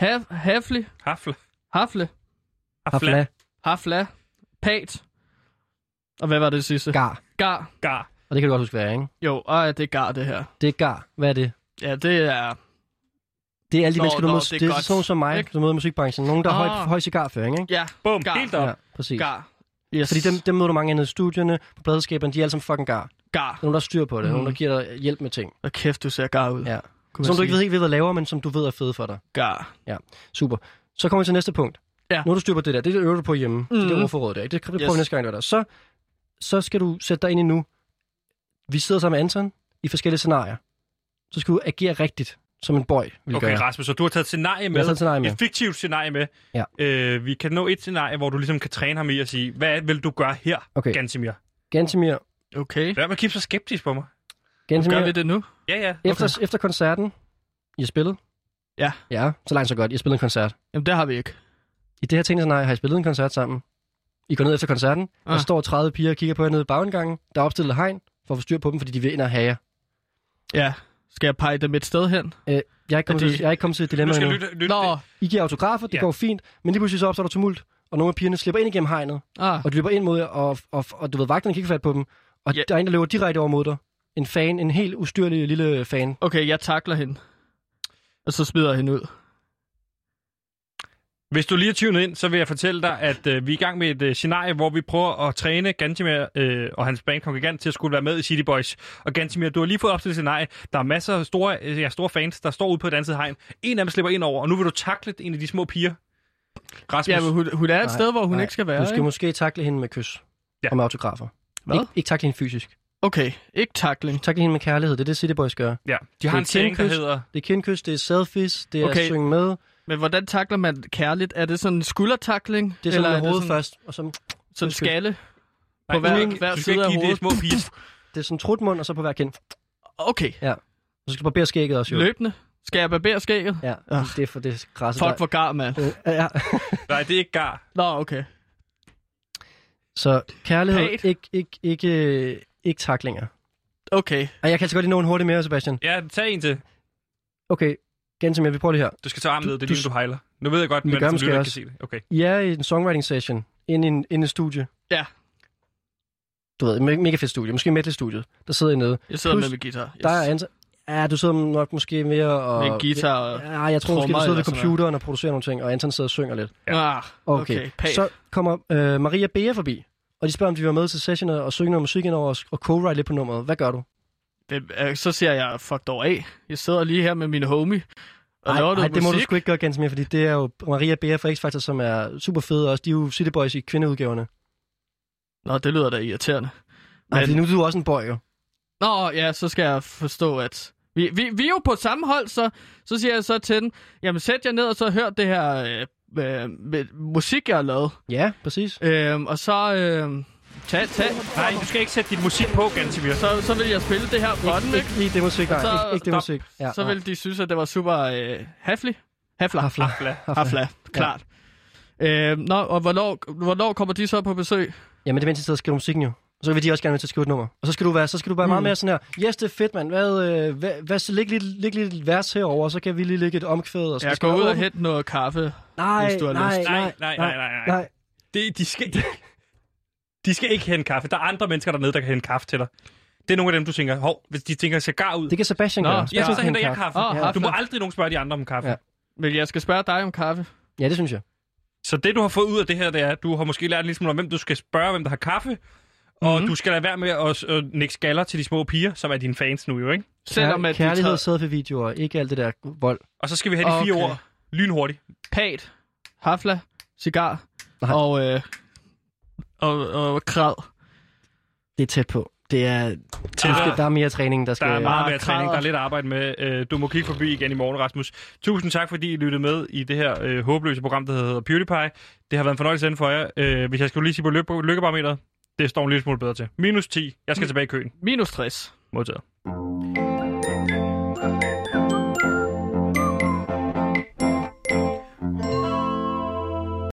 Speaker 2: Haf, hafli.
Speaker 1: Hafle.
Speaker 2: Hafle.
Speaker 1: Hafla.
Speaker 2: Hafla. Pat. Og hvad var det sidste?
Speaker 7: Gar.
Speaker 2: Gar.
Speaker 1: Gar.
Speaker 7: Og det kan du godt huske, hvad er, ikke?
Speaker 2: Jo, og det er gar, det her.
Speaker 7: Det er gar. Hvad er det?
Speaker 2: Ja, det er...
Speaker 7: Det er alle de
Speaker 2: Nå,
Speaker 7: mennesker, du
Speaker 2: nå,
Speaker 7: møder.
Speaker 2: det er
Speaker 7: Det er
Speaker 2: godt.
Speaker 7: sådan som mig,
Speaker 2: Ikke?
Speaker 7: du møder i musikbranchen. Nogen, der har
Speaker 2: Ah.
Speaker 7: høj, høj cigarføring, ikke?
Speaker 2: Ja,
Speaker 1: Bum.
Speaker 2: Gar.
Speaker 1: Helt op.
Speaker 7: Ja, præcis.
Speaker 2: gar. Yes.
Speaker 7: Fordi dem, dem møder du mange af nede i studierne, på pladeskaberne, de er alle sammen fucking gar. Der
Speaker 2: Gar.
Speaker 7: er nogen, der har styr på det. Mm.
Speaker 2: Mhm.
Speaker 7: Nogen, der giver dig hjælp med ting.
Speaker 2: Og kæft, du ser gar ud.
Speaker 7: Ja.
Speaker 2: kunne
Speaker 7: Som
Speaker 2: man
Speaker 7: du ikke
Speaker 2: sige.
Speaker 7: ved helt ved, hvad laver, men som du ved er fede for dig.
Speaker 2: Gar.
Speaker 7: Super. Så kommer vi til næste punkt.
Speaker 2: Ja.
Speaker 7: Nu har du styr på det der. Det øver du på hjemme. Mm. Det er
Speaker 2: Mhm.
Speaker 7: det ordforråd der. ikke? Det kan du
Speaker 2: Yes.
Speaker 7: prøve næste gang, du er der. Så, så skal du sætte dig ind i nu. Vi sidder sammen med Anton i forskellige scenarier. så skal du agere rigtigt, som en boy vil
Speaker 1: Okay,
Speaker 7: gøre.
Speaker 1: Rasmus, så du har taget et scenarie med.
Speaker 7: Jeg har taget et scenarie med.
Speaker 1: Et fiktivt scenarie med.
Speaker 7: Ja.
Speaker 1: Øh, vi kan nå et scenarie, hvor du ligesom kan træne ham i at sige, hvad vil du gøre her,
Speaker 7: Okay.
Speaker 1: Gansimir?
Speaker 7: Gantemir,
Speaker 2: Okay.
Speaker 1: Lad mig kigge så skeptisk på mig.
Speaker 7: Gantemir,
Speaker 2: Gør vi det nu?
Speaker 1: Ja, ja.
Speaker 7: efter, efter koncerten, I har spillet?
Speaker 2: Ja.
Speaker 7: Ja, så langt så godt. I har spillet en koncert.
Speaker 2: Jamen, det har vi ikke.
Speaker 7: I det her tænkescenarie har I spillet en koncert sammen. I går ned efter koncerten, ah.
Speaker 2: Ah.
Speaker 7: og står 30 piger og kigger på jer nede i bagindgangen. Der er opstillet hegn for at få styr på dem, fordi de vil ind og Øh, have jer.
Speaker 2: Ja. Skal jeg pege dem et sted hen?
Speaker 7: Øh, jeg er ikke kommet,
Speaker 2: Er de-
Speaker 7: til, jeg er ikke kommet til et dilemma
Speaker 1: Nu skal
Speaker 7: endnu.
Speaker 1: jeg lytte, lytte
Speaker 2: Nå,
Speaker 7: I giver autografer, det
Speaker 1: Ja.
Speaker 7: ja. går fint, men lige pludselig så opstår der tumult, og nogle af pigerne slipper ind igennem hegnet,
Speaker 2: ah,
Speaker 7: og de løber ind mod jer, og, og, og du ved, vagterne kan ikke få fat på dem, og
Speaker 2: Ja.
Speaker 7: ja. der er en, der løber direkte over mod dig. En fan, en helt ustyrlig lille fan.
Speaker 2: okay, jeg takler hende. Og så smider jeg hende ud.
Speaker 1: Hvis du lige er tunet ind, så vil jeg fortælle dig, at øh, vi er i gang med et øh, scenarie, hvor vi prøver at træne Gantimir øh, og hans bandkongregant til at skulle være med i City Boys. Og Gantimir, du har lige fået opstillet et scenarie. Der er masser af store, øh, ja, store fans, der står ude på et andet side af hegn. En af dem slipper ind over, og nu vil du takle en af de små piger. Rasmus,
Speaker 2: Ja,
Speaker 1: ja,
Speaker 2: men hun, hun er et
Speaker 7: Nej,
Speaker 2: sted, hvor hun
Speaker 7: nej,
Speaker 2: ikke skal
Speaker 7: Du
Speaker 2: være,
Speaker 7: skal
Speaker 2: ikke?
Speaker 7: måske takle hende med kys
Speaker 1: Ja.
Speaker 7: ja. og med autografer.
Speaker 2: Hvad?
Speaker 7: Ikke, ikke takle hende fysisk.
Speaker 2: Okay, ikke takling.
Speaker 7: Takle hende med kærlighed, det er det City Boys gør.
Speaker 1: ja. de har en
Speaker 7: Det er et
Speaker 1: ting, der
Speaker 7: kindkys.
Speaker 1: hedder...
Speaker 7: Det er kindkys, det er selfies, det er
Speaker 2: Okay.
Speaker 7: okay. at synge med, det
Speaker 2: Men hvordan takler man kærligt? Er det sådan en skuldertakling?
Speaker 7: er sådan med
Speaker 2: er
Speaker 7: hovedet
Speaker 2: det sådan,
Speaker 7: først, og så
Speaker 2: sådan en
Speaker 7: Undskyld.
Speaker 2: skalle?
Speaker 1: Nej,
Speaker 2: På hver-
Speaker 1: du skal ikke-
Speaker 2: hver
Speaker 1: du skal
Speaker 2: side
Speaker 1: ikke
Speaker 2: af
Speaker 1: give de
Speaker 2: hovedet.
Speaker 1: små piger.
Speaker 7: det er sådan trutmund, og så på hver kind.
Speaker 2: Okay,
Speaker 7: Og så skal du barbere skægget også, jo.
Speaker 2: løbende. Skal jeg barbere skægget?
Speaker 7: Ja,
Speaker 2: Ah.
Speaker 7: det er for det græsset.
Speaker 2: Fuck, hvor gar, mand.
Speaker 7: Ja.
Speaker 1: Nej, det er ikke gar.
Speaker 2: Nå, okay.
Speaker 7: Så kærlighed,
Speaker 2: Pat.
Speaker 7: ikke, ikke, ikke, øh, ikke taklinger.
Speaker 2: Okay.
Speaker 7: Og jeg kan altså godt lige nå en hurtig mere, Sebastian.
Speaker 1: Ja, tag en til.
Speaker 7: Okay, Gantemir, vi prøver det her.
Speaker 1: Du skal tage armen
Speaker 7: Du-
Speaker 1: ned, det er
Speaker 7: du-
Speaker 1: lige, du hejler. Nu ved jeg godt,
Speaker 7: Det
Speaker 1: men
Speaker 7: gør
Speaker 1: som
Speaker 7: man
Speaker 1: lytter
Speaker 7: skal
Speaker 1: kan
Speaker 7: også.
Speaker 1: se det. Okay.
Speaker 7: I er i en songwriting session, inde i en, inde i en studie.
Speaker 2: Ja.
Speaker 7: Du ved, et me- mega fedt studie, måske metal-studiet. Der sidder I nede.
Speaker 2: Jeg sidder
Speaker 7: Plus,
Speaker 2: med min guitar. Yes.
Speaker 7: Der er ansat... Ja, du sidder nok måske mere og...
Speaker 2: Med en guitar og...
Speaker 7: Ja, jeg tror
Speaker 2: trommer
Speaker 7: måske, du sidder
Speaker 2: eller
Speaker 7: ved
Speaker 2: sådan noget.
Speaker 7: computeren og producerer nogle ting, og Anton sidder og synger lidt.
Speaker 2: Ah, okay.
Speaker 7: Okay,
Speaker 2: Pæt.
Speaker 7: så kommer øh, Maria Bea forbi, og de spørger, om de vil være med til session og og synge noget musik indover og, og co-write lidt på nummeret. Hvad gør du?
Speaker 2: Hvem- øh, så ser jeg fucked over af. Jeg sidder lige her med min homie. Og
Speaker 7: Ej,
Speaker 2: laver
Speaker 7: ej,
Speaker 2: noget
Speaker 7: det må du
Speaker 2: musik.
Speaker 7: sgu ikke gøre ganske mere, fordi det er jo Maria Bea fra X-Factor, som er super fed også. De er jo City Boys i kvindeudgaverne.
Speaker 2: Nå, det lyder da irriterende.
Speaker 7: Nej,
Speaker 2: Men-
Speaker 7: fordi nu er du også en boy, jo.
Speaker 2: Nå, ja, så skal jeg forstå, at... Vi, vi, vi er jo på samme hold, så, så siger jeg så til den, jamen sæt jer ned og så hør det her øh, øh, med, musik, jeg har lavet.
Speaker 7: Ja, præcis.
Speaker 2: Øh, og så... Øh, tag, tag.
Speaker 1: Nej, du skal ikke sætte dit musik på, Gansimir.
Speaker 2: Så, så vil jeg spille det her for den,
Speaker 7: Ikke,
Speaker 2: ikke?
Speaker 7: ikke lige det musik, nej.
Speaker 2: Så-
Speaker 7: ikke, ikke det
Speaker 1: stop.
Speaker 7: musik. Ja,
Speaker 2: Så vil de synes, at det var super øh, haflig. Hafler.
Speaker 7: Hafla.
Speaker 1: Hafla.
Speaker 2: Hafla, klart. Øh, nå, og hvornår, hvornår kommer de så på besøg?
Speaker 7: Jamen, det er mens de sidder og skriver musikken jo. Og så vil de også gerne være til at skrive et nummer. Og så skal du være, så skal du være mm. meget mere sådan her, yes, det er fedt, mand. Hvad, øh, hvad, hvad så læg lige, læg lige et vers herover, så kan vi lige lægge et omkvæd. Og så
Speaker 2: Jeg
Speaker 7: skal
Speaker 2: går
Speaker 7: vi
Speaker 2: ud og
Speaker 7: åbne-
Speaker 2: hente noget kaffe.
Speaker 7: nej,
Speaker 2: hvis du har
Speaker 7: nej,
Speaker 2: lyst.
Speaker 7: nej, nej, nej, nej, nej.
Speaker 1: Det, de, skal, de, de skal ikke hente kaffe. Der er andre mennesker dernede, der kan hente kaffe til dig. Det er nogle af dem, du tænker, hov, hvis de tænker cigar ud,
Speaker 7: Det kan Sebastian
Speaker 2: Nå,
Speaker 7: gøre.
Speaker 1: ja,
Speaker 7: Sebastian
Speaker 1: så
Speaker 7: kan
Speaker 1: henter jeg
Speaker 7: kaffe.
Speaker 1: kaffe.
Speaker 2: Åh,
Speaker 1: Du må
Speaker 2: hafla.
Speaker 1: aldrig nogen spørge de andre om kaffe. Ja.
Speaker 7: Ja.
Speaker 2: Men jeg skal spørge dig om kaffe.
Speaker 7: Ja, det synes jeg.
Speaker 1: Så det, du har fået ud af det her, det er, at du har måske lært en lille smule om, hvem du skal spørge, hvem der har kaffe. Og mm-hmm. du skal lade være med at øh, nikke skaller til de små piger, som er dine fans nu jo, ikke?
Speaker 2: Selvom at de
Speaker 7: Kærlighed
Speaker 2: tager
Speaker 7: sidder for videoer, ikke alt det der vold.
Speaker 1: Og så skal vi have de fire
Speaker 2: Okay.
Speaker 1: ord lynhurtigt.
Speaker 2: pat, hafla, cigar
Speaker 7: Nej.
Speaker 2: og, øh, og, og krad.
Speaker 7: Det er tæt på. Det er,
Speaker 1: Til
Speaker 7: der, skal, der er mere træning, der skal...
Speaker 1: Der er meget
Speaker 2: Ah,
Speaker 1: mere træning, der er lidt arbejde med. Øh, Du må kigge forbi igen i morgen, Rasmus. Tusind tak, fordi I lyttede med i det her øh, håbløse program, der hedder PewDiePie. Det har været en fornøjelse inden for jer. Øh, hvis jeg skulle lige sige på lykke- lykkebarometeret, det står en lille smule bedre til. Minus 10. Jeg skal tilbage i køen.
Speaker 2: Minus 60.
Speaker 1: Modtaget.